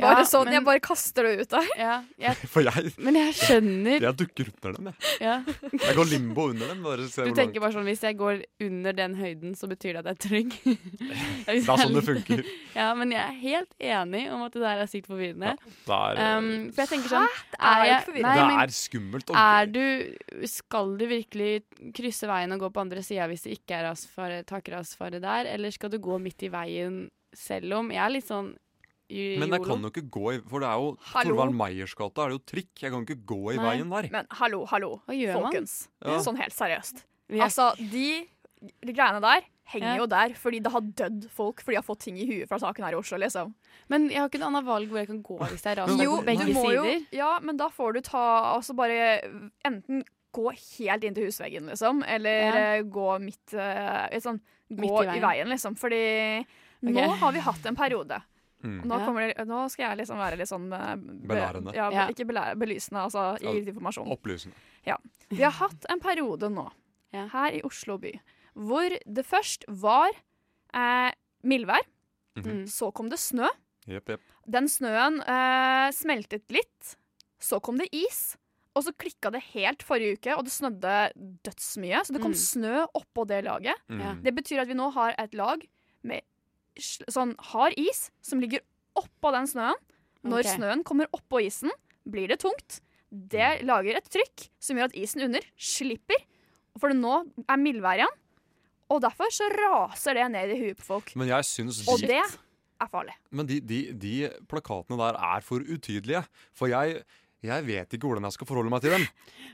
Bare sånn,
men-
Jeg bare kaster det ut der.
ja. Jeg,
For jeg,
men jeg skjønner.
jeg dukker under dem, jeg.
Ja.
Jeg går limbo under dem. Bare se
Du
hvor langt.
tenker bare sånn Hvis jeg går under den høyden, så betyr det at jeg er trygg. Ja, hvis
Det er
jeg
sånn det
litt-
funker.
Ja, men jeg er helt enig om at det der er sykt forvirrende.
Det er,
Um, for jeg tenker sånn er
er jo
jeg,
ikke
nei,
forvirrende.
det
men
er skummelt. og-
Er du Skal du virkelig krysse veien og gå på andre sida hvis det ikke er rasfare, takrasfare der, eller skal du gå midt i veien selv om? Jeg er litt sånn i-
Men jeg
jolo.
kan jo ikke gå i For det er jo
Hallo?
Thorvald Meyers gate, er det jo trikk. Jeg kan ikke gå i
Nei.
veien der.
Men hallo, hallo,
Hva gjør man?
folkens.
Ja.
Sånn helt seriøst.
Vi er-
Altså, de, de greiene der henger
Ja.
jo der fordi det har dødd folk fordi de har fått ting i huet fra saken her i Oslo, liksom.
Men jeg har ikke noe annet valg hvor jeg kan gå hvis det er rasfare
Jo,
på begge
du må jo
sider.
Ja, men da får du ta altså bare enten gå helt inn til husveggen, liksom, eller
Ja.
eh, gå midt eh, litt sånn, Gå
Midt i
i veien.
veien.
liksom. Fordi nå
Ok.
har vi hatt en periode.
Mm.
Og Nå,
Ja.
kommer det, nå skal jeg liksom være litt sånn eh, be-
Belærende.
Ja,
Ja.
Ikke belæ- belysende, altså
Ja.
gi litt informasjon.
Opplysende.
Vi har hatt en periode nå,
Ja.
her i Oslo by, hvor det først var eh, mildvær,
Mm.
så kom det snø.
Jepp, jepp.
Den snøen eh, smeltet litt, så kom det is, og så klikka det helt forrige uke, og det snødde dødsmye, så det kom
Mm.
snø oppå det laget.
Mm.
Ja.
Det betyr at vi nå har et lag med sl- sånn hard is som ligger oppå den snøen. Når
Ok.
snøen kommer oppå isen, blir det tungt. Det lager et trykk som gjør at isen under slipper, for det nå er mildvær igjen. Og derfor så raser det ned i huet på folk.
Men jeg syns
Og
de,
det er farlig.
men de, de, de plakatene der er for utydelige. For jeg, jeg vet ikke hvordan jeg skal forholde meg til dem.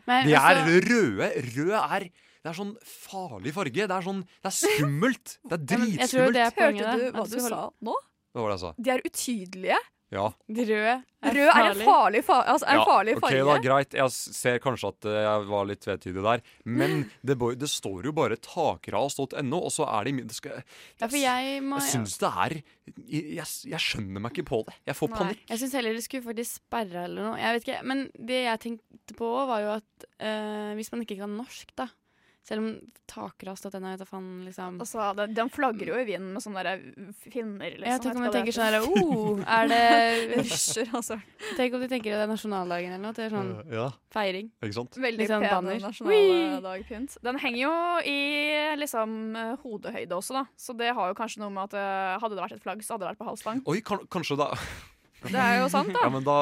Men
De er
altså-
røde. Rød er Det er sånn farlig farge. Det er sånn Det er skummelt. Det er
Ja, men jeg tror
dritskummelt.
det er poenget.
Hørte
da,
du
at
hva du
holder-
sa nå?
Hva var det jeg sa?
De er utydelige.
Ja.
Rød er
Rød er en
farlig.
farlig, fa altså, er en farlig
ok,
farge.
da, greit. Jeg s- ser kanskje at eh, jeg var litt tvetydig der. Men det, bør- det står jo bare takras.no, og så er det i mid- det skal,
Ja, for jeg må
Jeg syns det er jeg, jeg skjønner meg ikke på det. Jeg får
Nei.
panikk.
Jeg syns heller det skulle faktisk sperra eller noe. Jeg vet ikke, Men det jeg tenkte på, var jo at eh, hvis man ikke kan norsk, da Selv om takras.no er da faen, liksom
Altså, de, de flagrer jo i vinden med sånne der finner, liksom.
Jeg tenker om jeg
Vet ikke hva det
tenker sånn her oh, Er det
heter. Russer, altså.
Tenk om du tenker det er nasjonaldagen eller noe. At det er sånn
Eh, Ja,
feiring.
ikke sant?
Veldig
Litt sånn
pen
banner.
nasjonaldagpynt. Den henger jo i liksom eh, hodehøyde også, da. Så det har jo kanskje noe med at eh, hadde det vært et flagg, så hadde det vært på halvstang.
Oi, kan, kanskje da
Det er jo sant,
Ja,
da.
men da,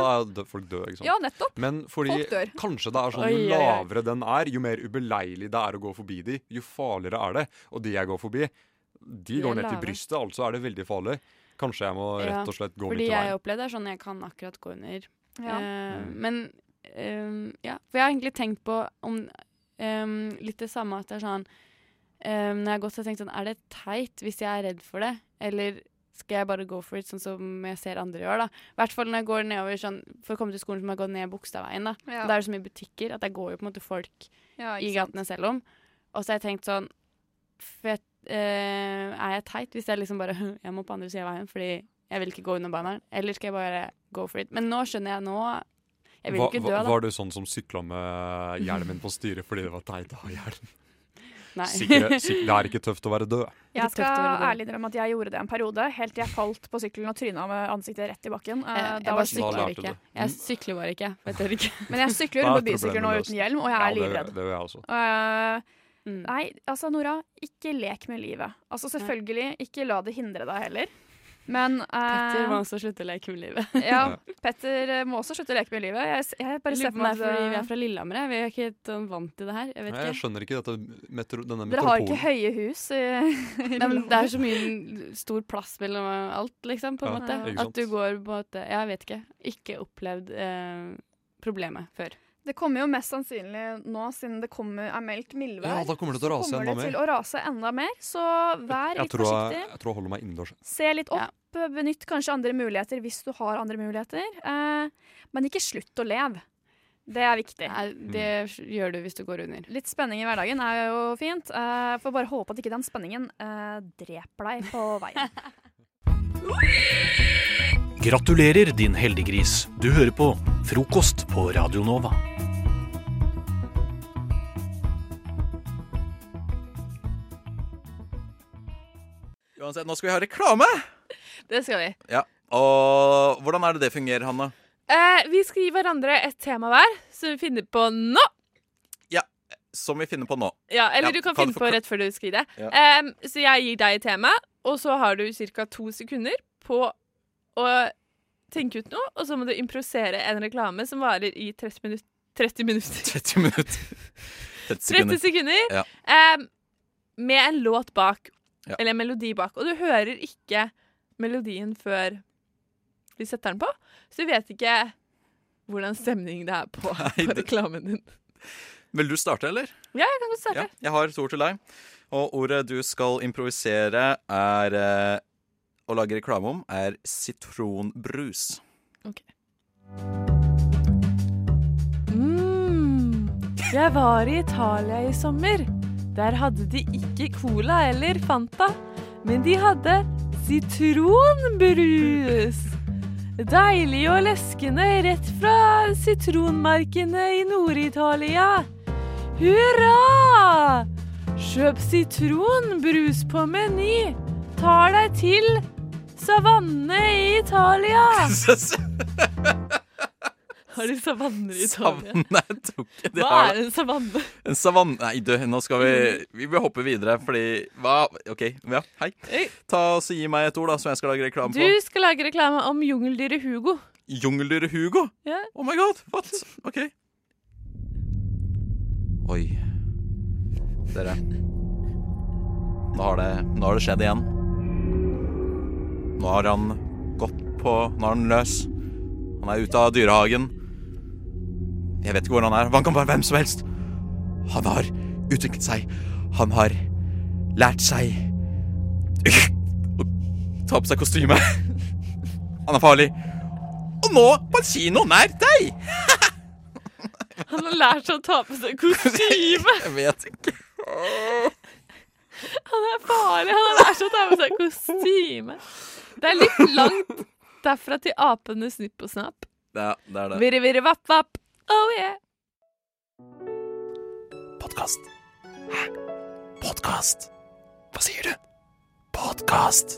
da er dø, folk døde, ikke sant?
Ja, nettopp.
Men fordi
Folk dør.
kanskje det er sånn,
Oi, oi,
jo
oi.
lavere den er, jo mer ubeleilig det er å gå forbi de, jo farligere er det. Og de jeg går forbi, de
De er
går ned til
lave.
brystet, altså er det veldig farlig. Kanskje jeg må
Ja,
rett og slett gå
Fordi
midt i
jeg
veien.
opplevde det er sånn jeg kan akkurat gå under.
Ja.
Eh,
Mm.
Men ehm, ja, for jeg har egentlig tenkt på om ehm, litt det samme at det er sånn ehm, Når jeg har gått så har jeg tenkt sånn Er det teit hvis jeg er redd for det? Eller skal jeg bare go for it, sånn som jeg ser andre gjør. da. I hvert fall når jeg går nedover sånn, For å komme til skolen så må jeg gå ned Bogstadveien. da.
Ja.
Og Da er det så mye butikker at der går jo på en måte folk
Ja,
i
ikke sant.
gatene selv om. Og så har jeg tenkt sånn fett, eh, Er jeg teit hvis jeg liksom bare Jeg må på andre sida av veien fordi jeg vil ikke gå under banneren? Eller skal jeg bare go for it? Men nå skjønner jeg nå Jeg vil
Hva-
ikke
hva-
dø, da.
Var du sånn som sykla med hjelmen på styret fordi det var teit å ha hjelm?
Nei.
Sikre- sik- det er ikke tøft å være død.
Jeg
Litt tøft å
skal
være død.
ærlig innrømme at jeg gjorde det en periode, helt til jeg falt på sykkelen og tryna med ansiktet rett i bakken. Eh,
Jeg,
da
jeg
var
bare
det
Da
sykler
lærte
ikke.
du. Mm.
Jeg sykler bare ikke. Jeg tør ikke.
Men jeg sykler
Da er
på bysykkel nå
problemet løst.
uten hjelm, og jeg
Ja,
er livredd.
Det, det gjør jeg også.
Eh,
Mm.
Nei, altså Nora, ikke lek med livet. Altså selvfølgelig, ikke la det hindre deg heller. Men eh,
Petter må også slutte å leke med livet.
ja, Petter eh, må også slutte å leke med livet. Jeg, s- jeg bare
Lurer
ser
på
for
om det
meg
er fordi vi er
at eh,
fra Lillehammer. jeg. Vi er ikke helt sånn vant til det her. Jeg vet
Nei, Jeg
ikke.
skjønner ikke dette metro, denne
dere har
metropolen.
ikke høye hus i, i
Nei, men det
Lillehammer.
er så mye stor plass mellom alt, liksom, på en
Ja,
måte.
ikke sant.
At du går på en måte Jeg vet ikke. Ikke opplevd eh, problemet før.
Det kommer jo mest sannsynlig nå, siden det kommer, er meldt
Ja,
mildvær.
da kommer det til å rase
kommer
enda
det til
mer.
å rase enda mer, så vær
Jeg
litt
tror
forsiktig.
jeg, jeg tror jeg holder meg innendørs.
Se litt opp, benytt kanskje andre muligheter hvis du har andre muligheter. Eh, men ikke slutt å leve. Det er viktig.
Nei, det gjør du hvis du går under.
Litt spenning i hverdagen er jo fint. Eh, får bare håpe at ikke den spenningen eh, dreper deg på veien.
Gratulerer, din heldiggris. Du hører på Frokost på Radio Nova.
Uansett, nå skal vi ha reklame!
Det skal vi.
Ja, Og hvordan er det det fungerer, Hanna?
Eh, vi skal gi hverandre et tema hver, som vi finner på nå.
Ja, Som vi finner på nå.
Ja, Eller
Ja,
du kan,
kan
finne
du
på
forkla-
rett før du skal gi det.
Ja.
Em, så jeg gir deg et tema, og så har du ca. to sekunder på å tenke ut noe, og så må du improvisere en reklame som varer i 30 minutter. 30 minutter.
30 minutter. 30
30 sekunder.
Ja.
Em, med en låt bak,
Ja.
eller en melodi bak. Og du hører ikke melodien før vi setter den på, så du vet ikke hvordan stemning det er på, på reklamen din.
Vil du starte, eller?
Ja, jeg kan godt starte.
Ja, jeg har et ord til deg. Og ordet du skal improvisere er eh, å lage reklame om, er sitronbrus.
Mm. Jeg var i Italia i sommer. Der hadde de ikke cola eller Fanta, men de hadde sitronbrus. Deilig og leskende rett fra sitronmarkene i Nord-Italia. Hurra! Kjøp sitronbrus på Meny. Tar deg til savannene i Italia. Har de savanner i Italia?
Nei, jeg tror ikke de
Hva
har
er en savanne?
En savanne Nei, du, nå skal vi Vi bør hoppe videre, fordi Hva? OK, ja, hei.
Hei.
Ta og så Gi meg et ord, da, som jeg skal lage reklame
Du
på.
skal lage reklame om jungeldyret Hugo.
Jungeldyret Hugo.
Ja.
Oh my god, what? OK. Oi. Dere. Nå har det, nå har det skjedd igjen. Nå har han gått på Nå er han løs. Han er ute av dyrehagen. Jeg vet ikke hvor han er. Han kan være hvem som helst. Han har utviklet seg. Han har lært seg å ta på seg kostyme. Han er farlig. Og nå på en kino nær deg!
Han har lært seg å ta på seg kostyme.
Jeg vet ikke.
Han er farlig. Han har lært seg å ta på seg kostyme. Det er litt langt derfra til apene Snipp og Snapp.
Ja, det er det.
Virre, virre, vapp, vapp. Oh yeah.
Podkast. Hæ? Podkast? Hva sier du? Podkast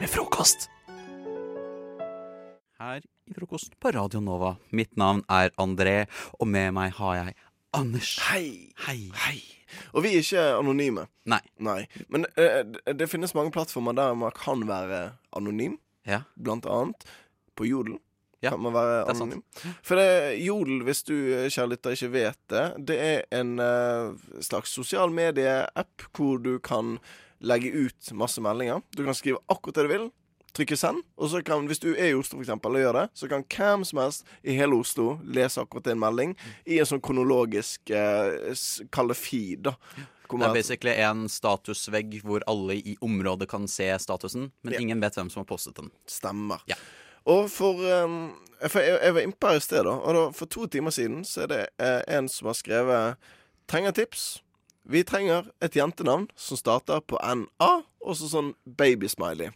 med frokost. Her i frokost på Radio Nova.
Mitt navn er André, og med meg har jeg Anders.
Hei. Og vi er ikke anonyme.
Nei.
Men eh, det- det finnes mange plattformer der man kan være anonym.
Ja.
Blant annet på Jodel.
Ja,
kan man være
det er sant.
anonym. For det, Jodel, hvis du eh, kjære lytter ikke vet det, det er en eh, slags sosial medie-app hvor du kan legge ut masse meldinger. Du kan skrive akkurat det du vil. trykke send, og så kan, hvis du er i Oslo for eksempel, og gjør det, så kan hvem som helst i hele Oslo lese akkurat en melding i en sånn kronologisk eh, s- Kall det feed, da. Hvor
Det
man-
er basically en statusvegg hvor alle i området kan se statusen, men
Ja.
ingen vet hvem som har postet den.
Stemmer. Og for, um, for jeg, jeg var inne på her i sted, da. Og da, for to timer siden så er det eh, en som har skrevet 'Trenger tips'. Vi trenger et jentenavn som starter på NA, og så sånn babysmiley.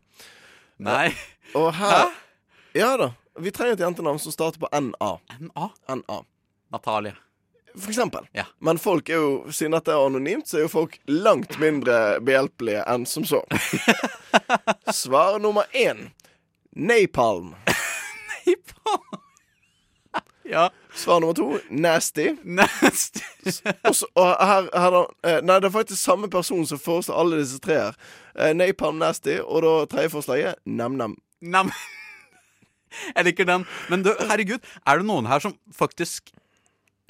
Nei.
Og her Ja da. Vi trenger et jentenavn som starter på NA.
NA?
NA.
Natalie.
For eksempel. Men folk er jo, siden dette er anonymt, så er jo folk langt mindre behjelpelige enn som så. Svar nummer én. Napalm.
Ja.
Svar nummer to nasty. S- og så- og her, her da, eh, nei, det er faktisk samme person som foreslår alle disse tre her. Eh, Napalm nasty, og da tredje forslaget nam-nam.
Nam. Jeg liker den. Men du, herregud, er det noen her som faktisk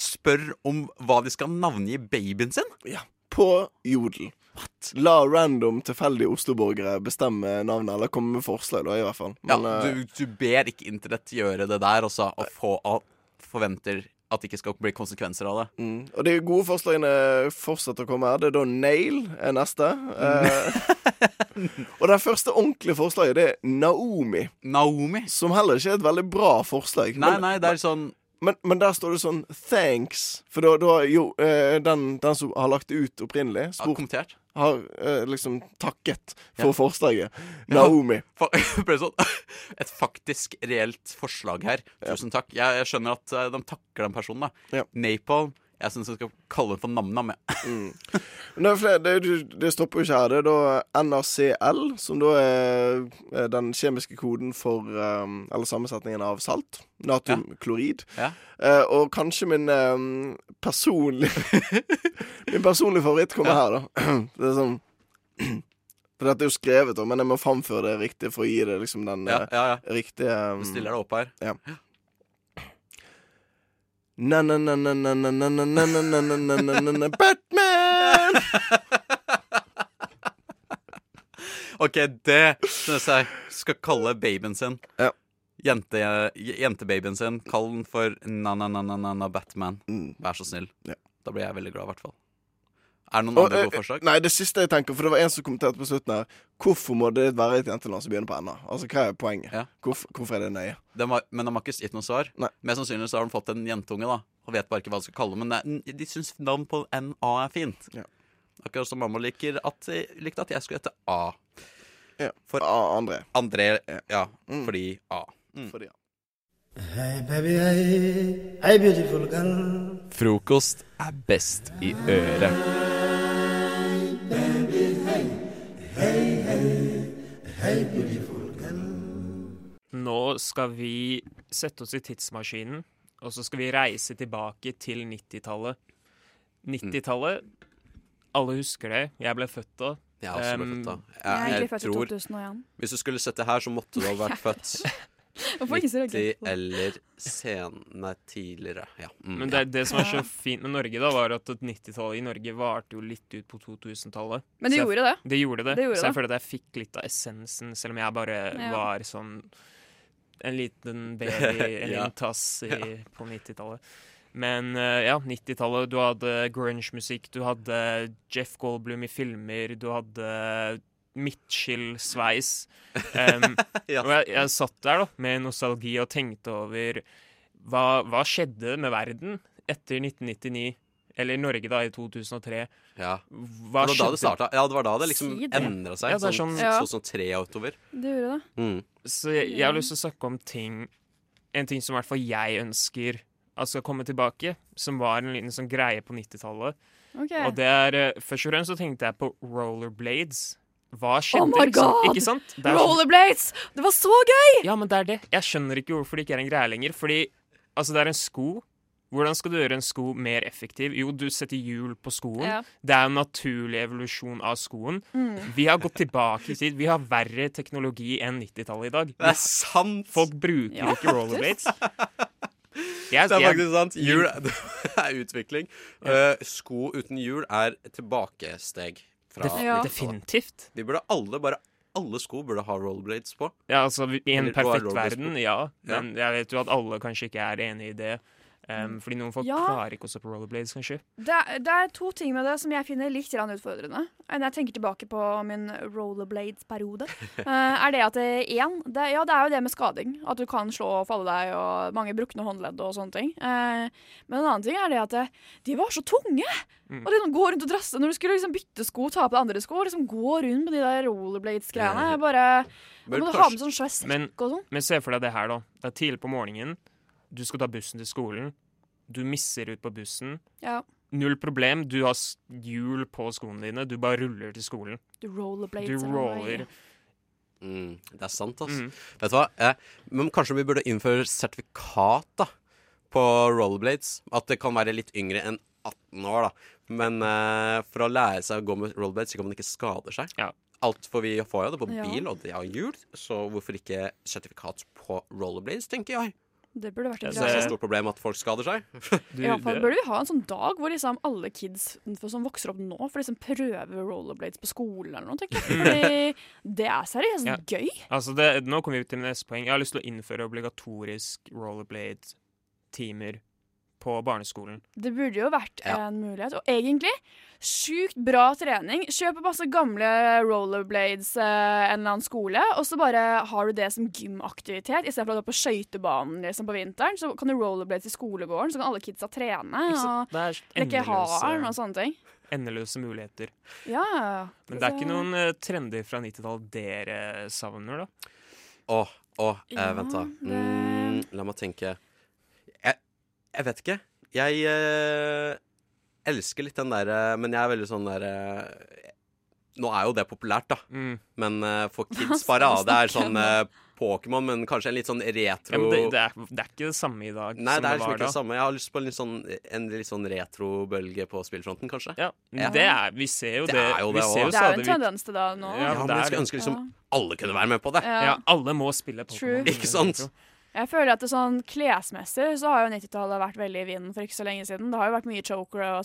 spør om hva de skal navngi babyen sin?
Ja. På Jodel. La random tilfeldige Oslo-borgere bestemme navnet, eller komme med forslag, da, i hvert fall. Men,
ja,
eh,
du, du ber ikke internett gjøre det der, altså, og, få, og forventer at det ikke skal bli konsekvenser av det.
Mm. Og de gode forslagene fortsetter å komme her. Det er da Nail er neste. Eh, og det første ordentlige forslaget, det er Naomi.
Naomi?
Som heller ikke er et veldig bra forslag.
Nei, nei, det er sånn
men, men der står det sånn 'thanks'. For da, da jo, eh, den, den som har lagt det ut opprinnelig,
Har kommentert.
har eh, liksom takket
Ja.
for forslaget.
Ja.
Naomi.
Fa- Bare sånn Et faktisk reelt forslag her. Tusen takk. Jeg, jeg skjønner at eh, de takker den personen, da. Napalm. Jeg syns jeg skal kalle den for Nam-Nam. jeg.
Men det, er flere, det, du- det stopper jo ikke her. Det er da eh, NaCl, som da er eh, den kjemiske koden for eh, Eller sammensetningen av salt. Natriumklorid.
Ja.
Eh, og kanskje min eh, personlige Min personlige favoritt kommer her, da. Det er sånn For dette er jo skrevet, da, men jeg må framføre det riktig for å gi det liksom den
Ja,
eh,
ja, ja.
riktige eh,
Du stiller deg opp her.
Ja. Na-na-na-na-na-na-na-na-na-na-na-na-na-na-na-na Batman!
OK, det syns jeg skal kalle babyen sin. Jente, jentebabyen sin. Kall den for Na-na-na-na-na-Batman.
Mm.
Vær så snill. Da blir jeg veldig glad, i hvert fall. Er det noen
Og,
andre
eh,
gode forslag?
Nei, det siste jeg tenker, for det var en som kommenterte på slutten her Hvorfor må det være et jentenavn som begynner på NA? Altså, hva er poenget? Hvorfor, hvorfor er det nøye?
Den har, men de har ikke gitt noe svar. Mest sannsynlig så har de fått en jentunge, da. Og vet bare ikke hva de skal kalle det. Men det, er- de syns navn på NA er fint. Akkurat som mamma liker at, likte at jeg skulle hete A.
For A, André.
André, ja.
Mm.
Fordi A.
Fordi A.
Hey baby, hey, hey beautiful girl.
Frokost er best i øret.
Nå skal vi sette oss i tidsmaskinen, og så skal vi reise tilbake til 90-tallet. 90-tallet, alle husker det. Jeg ble født da.
Jeg er også ble
Em,
født da.
Jeg er egentlig født i 2001.
Hvis du skulle sett det her, så måtte du ha vært født
Hvorfor ikke så
90
reagert på det?
eller sen... Nei, tidligere. Ja. Mm,
Men
ja.
det, det som er så fint med Norge, da, var at 90-tallet i Norge varte jo litt ut på 2000-tallet.
Men
Så
det
jeg-
gjorde det.
Det gjorde det.
Det gjorde
så jeg
det.
føler at jeg fikk litt av essensen, selv om jeg bare
Ja.
var sånn en liten baby,
Ja.
en liten tass i,
Ja.
på 90-tallet. Men eh, ja, 90-tallet. Du hadde grunge-musikk, du hadde Jeff Goldblum i filmer, du hadde midtskill-sveis. Em, Og jeg, jeg satt der da, med nostalgi og tenkte over hva, hva skjedde med verden etter 1999? Eller Norge, da, i 2003.
Ja.
Hva
det var da det
skjedde?
starta. Ja, det var da det liksom
Si det.
endra seg.
Ja, det er
sånn,
sånn- Ja.
sånn, sånn tre Mm. utover.
Det gjorde det.
Mm. Så jeg, jeg har
Ja.
lyst til å snakke om ting En ting som i hvert fall jeg ønsker at skal komme tilbake, som var en liten sånn greie på 90-tallet.
Ok.
Og det er eh, Først og fremst så tenkte jeg på rollerblades. Hva
Oh
skjedde?
my
liksom?
god!
Ikke sant? Det er sånn-
Rollerblades! Det var så gøy!
Ja, men det er det. Jeg skjønner ikke hvorfor det ikke er en greie lenger. Fordi altså, det er en sko. Hvordan skal du gjøre en sko mer effektiv? Jo, du setter hjul på skoen.
Ja.
Det er en naturlig evolusjon av skoen.
Mm.
Vi har gått tilbake i tid. Vi har verre teknologi enn 90-tallet i dag.
Det er sant!
Folk bruker
Ja,
ikke rollerblades. Jeg-
det er
jeg-
faktisk sant. Hjul det er utvikling. Eh, sko uten hjul er tilbakesteg. Fra
Def- Ja. definitivt.
Vi burde alle bare alle sko burde ha rollerblades på.
Ja, altså vi- I en
Eller, hva er
perfekt
rollerblades på?
verden, ja. Men jeg vet jo at alle kanskje ikke er enig i det. Um, fordi noen folk
Ja.
klarer ikke å stå på rollerblades, kanskje.
Det er, det er to ting med det som jeg finner litt grann utfordrende når jeg tenker tilbake på min rollerblades-periode. eh, er det at én det, Ja, det er jo det med skading. At du kan slå og falle deg og mange brukne håndledd og sånne ting. Eh, men en annen ting er det at eh, de var så tunge!
Mm.
Og de som går rundt og drasse når du skulle liksom bytte sko, ta på deg andre sko, og liksom gå rundt med de der rollerblades-greiene. Jeg Bare Da
Men
må du ha
kanskje-
med sånn svær
Men,
sekk og sånn.
men se for deg det her, da. Det er tidlig på morgenen. Du skal ta bussen til skolen. Du misser ut på bussen.
Ja.
Null problem. Du har s- hjul på skoene dine. Du bare ruller til skolen.
Du rollerblades.
Du
eller hva det
roller.
heter.
Mm, det er sant, ass.
Mm.
Vet du hva? Eh, men kanskje vi burde innføre sertifikat da, på rollerblades. At det kan være litt yngre enn 18 år, da. Men eh, for å lære seg å gå med rollerblades, så kan man ikke skade seg. Alt for vi får jo det på
Ja.
bil, og det har hjul, så hvorfor ikke sertifikat på rollerblades, tenker jeg.
Det burde vært
Det
en
er
greie.
så stort problem at folk skader seg.
I hvert fall burde vi ha en sånn dag hvor liksom alle kids som vokser opp nå, får liksom prøve rollerblades på skolen eller noe. tenker jeg. Fordi det er seriøst
Ja.
gøy.
Altså det, nå kommer vi til neste poeng. Jeg har lyst til å innføre obligatorisk rollerblade-timer på barneskolen.
Det burde jo vært
Ja.
en mulighet. Og egentlig sjukt bra trening. Kjøp masse gamle rollerblades eh, en eller annen skole, og så bare har du det som gymaktivitet. Istedenfor at du er på skøytebanen liksom, på vinteren, så kan du rollerblades i skolegården. Så kan alle kidsa trene
Ikke sant?
og
Det er
leke
endeløse-
haren og sånne ting.
Endeløse muligheter.
Ja.
Men det er
Så-
ikke noen eh, trender fra 90-tallet dere savner, da?
Åh, åh, eh, vent da.
Ja,
Mm, la meg tenke. Jeg, jeg vet ikke. Jeg eh, elsker litt den derre Men jeg er veldig sånn derre Nå er jo det populært, da.
Mm.
Men eh, for kids
skal
bare,
vi
ah, det er
snakke om
sånn eh, Pokémon, men kanskje en litt sånn retro
men det, det, er, det er ikke det samme i dag
Nei, det
som det
er liksom
var
ikke det
da.
samme. Jeg har lyst på en litt sånn, en litt sånn retrobølge på spillfronten, kanskje.
Det er, vi ser jo det.
er jo
vi
det også.
ser jo
Det er jo
stadig
en
vekk-
tendens til det nå.
Ja, men jeg skulle ønske liksom alle kunne være med på det.
Ja. Ja,
alle må spille
True.
Ikke sant?
Jeg føler at det sånn Klesmessig så har jo 90-tallet vært veldig i vinden for ikke så lenge siden. Det har jo vært mye choker og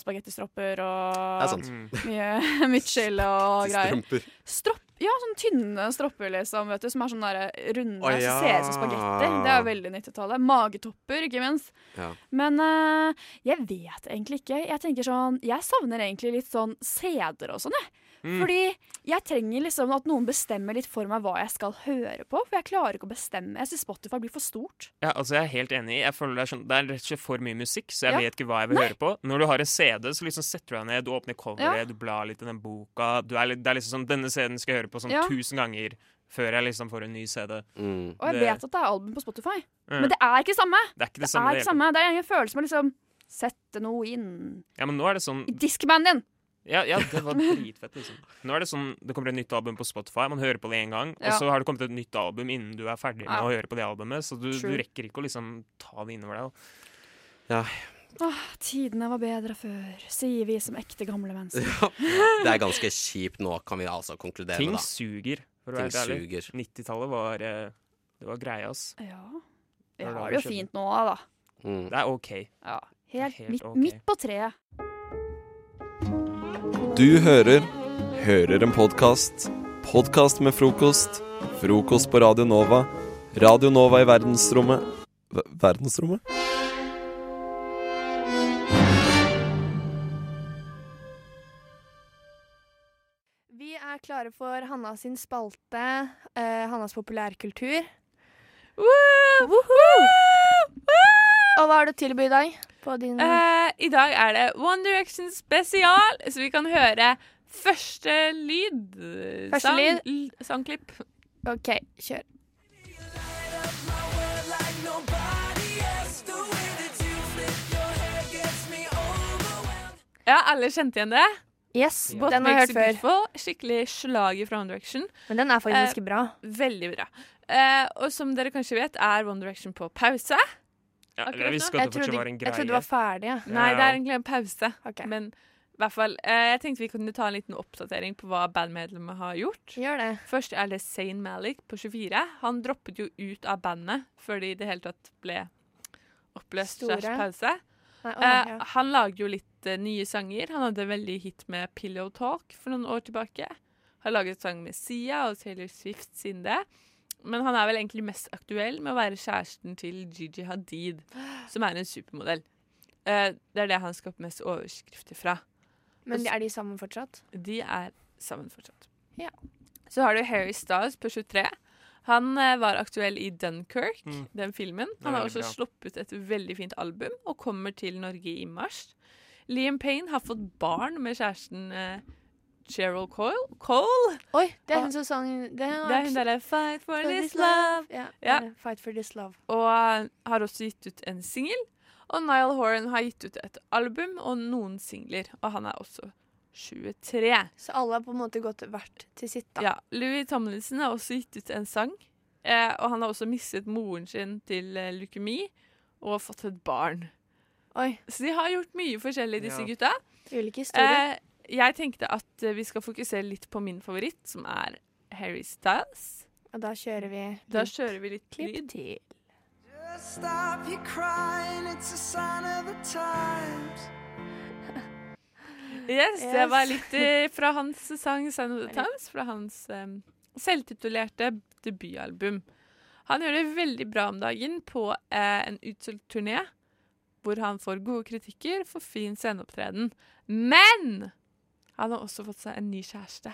Det
spagettistropper
er
og
sant. Mm.
mye midtskill og greier.
Strømper.
Stropp, ja, sånn tynne stropper liksom, vet du, som er sånn der runde,
Å,
som ser ut som
ja.
spagetter. Det er jo veldig 90-tallet. Magetopper, ikke minst.
Ja.
Men eh, jeg vet egentlig ikke. Jeg tenker sånn, jeg savner egentlig litt sånn CD-er og sånn, jeg.
Mm.
Fordi jeg trenger liksom at noen bestemmer litt for meg hå jeg skal høre på. For jeg klarer ikke å bestemme. Jeg syns Spotify blir for stort.
Ja, altså Jeg er helt enig. Jeg føler Det er, sånn, det er rett og slett for mye musikk, så jeg
Ja.
vet ikke hva jeg vil
Nei.
høre på. Når du har en CD, så liksom setter du deg ned, du åpner coveret,
Ja.
du blar litt i den boka. Du er litt, det er liksom sånn, Denne CD-en skal jeg høre på sånn
Ja.
tusen ganger før jeg liksom får en ny CD.
Mm.
Og jeg
Det-
vet at det er album på Spotify,
Mm.
men det er ikke det samme.
Det er ikke det samme i
er
det
ikke samme. Det er en følelse med liksom Sette noe inn
Ja, men nå er det sånn
i diskmannen din!
Ja, ja, det var dritfett, liksom. Nå er det sånn, det kommer et nytt album på Spotify, man hører på det én gang,
Ja.
og så har det kommet et nytt album innen du er ferdig med
Ja.
å høre på det albumet, så du, du
True.
rekker ikke å liksom ta det innover deg.
Ja,
Åh, tidene var bedre før, sier vi som ekte gamle mennesker.
Det er ganske kjipt nå, kan vi altså konkludere
Ting
med. da.
suger, for å
Ting
være helt
suger.
ærlig. 90-tallet var, eh, det var greia, ass.
Ja. Vi har det jo fint nå, da.
Det er OK.
Ja. Helt,
Helt
midt,
ok.
midt på treet.
Du hører Hører en podkast. Podkast med frokost. Frokost på Radio Nova. Radio Nova i verdensrommet Ver- Verdensrommet?
Vi er klare for Hanna sin spalte, eh, Hannas populærkultur. Woo! Og hva har du til å tilby i dag? På din
Eh, I dag er det One Direction spesial, så vi kan høre første lyd. eh,
Første
sang-
lyd.
l- Sangklipp.
OK, kjør.
Ja, alle kjente igjen det?
Yes,
What
den har jeg hørt
Makes You
før.
Beautiful, Skikkelig slager fra One Direction.
Men den er faktisk ganske bra.
Veldig bra. Eh, og som dere kanskje vet, er One Direction på pause.
Ja,
Akkurat
jeg visste
nå.
ikke at det fortsatt var en greie.
ferdig, ja.
Nei,
Ja.
det er egentlig en pause. Men i hvert fall, eh, jeg tenkte vi kunne ta en liten oppdatering på hva bandmedlemmet har gjort.
Gjør det.
Først er det Zayn Malik på 24. Han droppet jo ut av bandet før de i det hele tatt ble oppløst.
Store.
slash Pause.
Nei, å,
Eh,
ja.
han lager jo litt eh, nye sanger. Han hadde veldig hit med Pillow Talk for noen år tilbake. Har laget sang med Sia og Taylor Swift siden det. Men han er vel egentlig mest aktuell med å være kjæresten til Gigi Hadid, som er en supermodell. Eh, det er det han skaper mest overskrifter fra.
Men
Og
er de sammen fortsatt?
de er sammen fortsatt.
Ja.
Så har du Harry Styles på 23. Han eh, var aktuell i Dunkerque,
Mm.
den filmen.
Det er
Han har
veldig
også sluppet et veldig fint album og kommer til Norge i mars. Liam Payne har fått barn med kjæresten eh, Cheryl Cole. Cole.
Oi, det
Og-
er hun som sang Det
Det er hun derre Fight for
For
this
this
love.
love. Ja,
Ja.
det er Fight for this love.
Og eh, har også gitt ut en singel. Og Niall Horan har gitt ut et album og noen singler. Og han er også 23.
Så alle har på en måte gått hvert til sitt, da.
Ja, Louis Tomlinson har også gitt ut en sang, eh, og han har også mistet moren sin til eh, leukemi og fått et barn. Så de har gjort mye forskjellig, disse
Ja.
gutta.
Ulike historier.
Eh, jeg tenkte at eh, vi skal fokusere litt på min favoritt, som er Harry Styles.
Og da kjører vi
Da
litt
kjører vi litt klipp til.
Stop your crying, it's a sign of the times.
Yes, det
Yes.
var litt eh, fra hans sang 'Sign of the Times', fra hans eh, selvtitulerte debutalbum. Han gjør det veldig bra om dagen på eh, en utsolgt turné, hvor han får gode kritikker for fin sceneopptreden. Men han har også fått seg en ny kjæreste.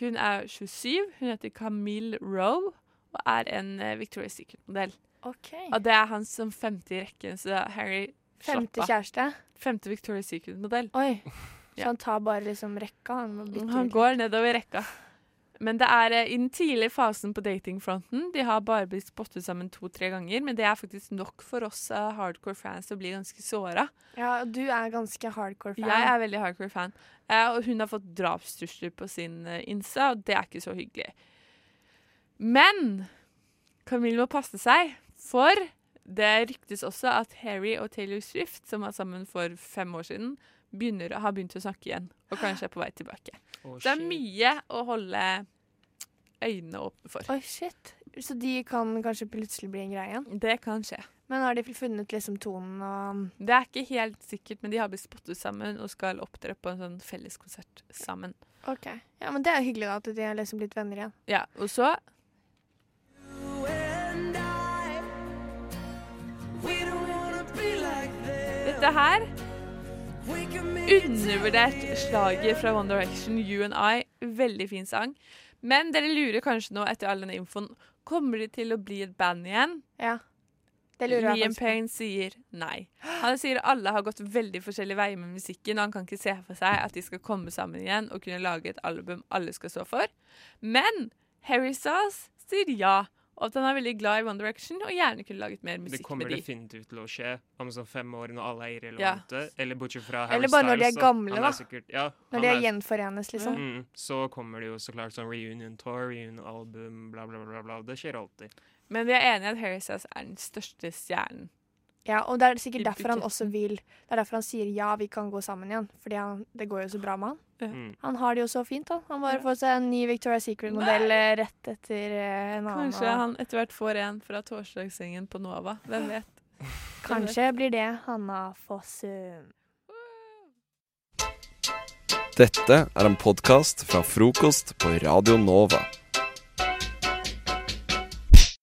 Hun er 27, hun heter Camille Rowe og er en eh, Victoria's Secret-modell.
Ok.
Og det er han som femte i rekken, så Harry slapp
Femte
av.
kjæreste?
Femte Victoria's Secret-modell.
Oi,
Ja.
Så han tar bare liksom rekka? Han, må bytte
Han
ut.
går nedover rekka. Men det er eh, i den tidlige fasen på datingfronten. De har bare blitt spottet sammen to-tre ganger, men det er faktisk nok for oss eh, hardcore fans å bli ganske såra.
Ja, og du er ganske hardcore fan.
Jeg er veldig hardcore fan. Eh, og hun har fått drapstrusler på sin eh, Insta, og det er ikke så hyggelig. Men Camille må passe seg, for det ryktes også at Harry og Taylor Swift, som var sammen for fem år siden, begynner, har begynt å snakke igjen, og kanskje er på vei tilbake.
Å,
det er mye å holde øynene åpne for.
Oi, shit. Så de kan kanskje plutselig bli en greie igjen?
Det kan skje.
Men har de funnet liksom tonen og
Det er ikke helt sikkert, men de har blitt spottet sammen og skal opptre på en sånn felleskonsert sammen.
OK. Ja, men det er hyggelig da at de har liksom blitt venner igjen.
Ja, og så
We don't wanna be like this.
Dette her Undervurdert slaget fra One Direction, You and I. Veldig fin sang. Men dere lurer kanskje nå etter all denne infoen. Kommer de til å bli et band igjen?
Ja. Det lurer jeg
Liam
faktisk på.
Payne sier nei. Han sier alle har gått veldig forskjellige veier med musikken, og han kan ikke se for seg at de skal komme sammen igjen og kunne lage et album alle skal stå for. Men Harry Stas sier ja, og at han er veldig glad i One Direction og gjerne kunne laget mer
Det
musikk
kommer
med de.
definitivt til å skje om sånn fem år når alle er irrelevante. Eller bortsett fra Harry
Eller bare når de er
Styles,
gamle,
han
da.
er sikkert- ja,
Når
han
de
er-
er gjenforenes, liksom.
Mm, så kommer det jo så klart sånn reunion tour, reunion album, bla, bla, bla. bla. Det skjer alltid.
Men vi er enige i at Harry Stas er den største stjernen.
Ja, og det er
I
sikkert derfor han
budsjetten.
også vil Det er derfor han sier ja, vi kan gå sammen igjen. Fordi han, det går jo så bra med han.
Mm.
Han har det jo så fint, da. Han bare får seg en ny Victoria's Secret-modell eh, rett etter eh, en annen.
Kanskje han etter hvert får en fra torsdagssengen på Nova. Hvem vet?
Kanskje blir det Hanna Fossum.
Dette er en podkast fra frokost på Radio Nova.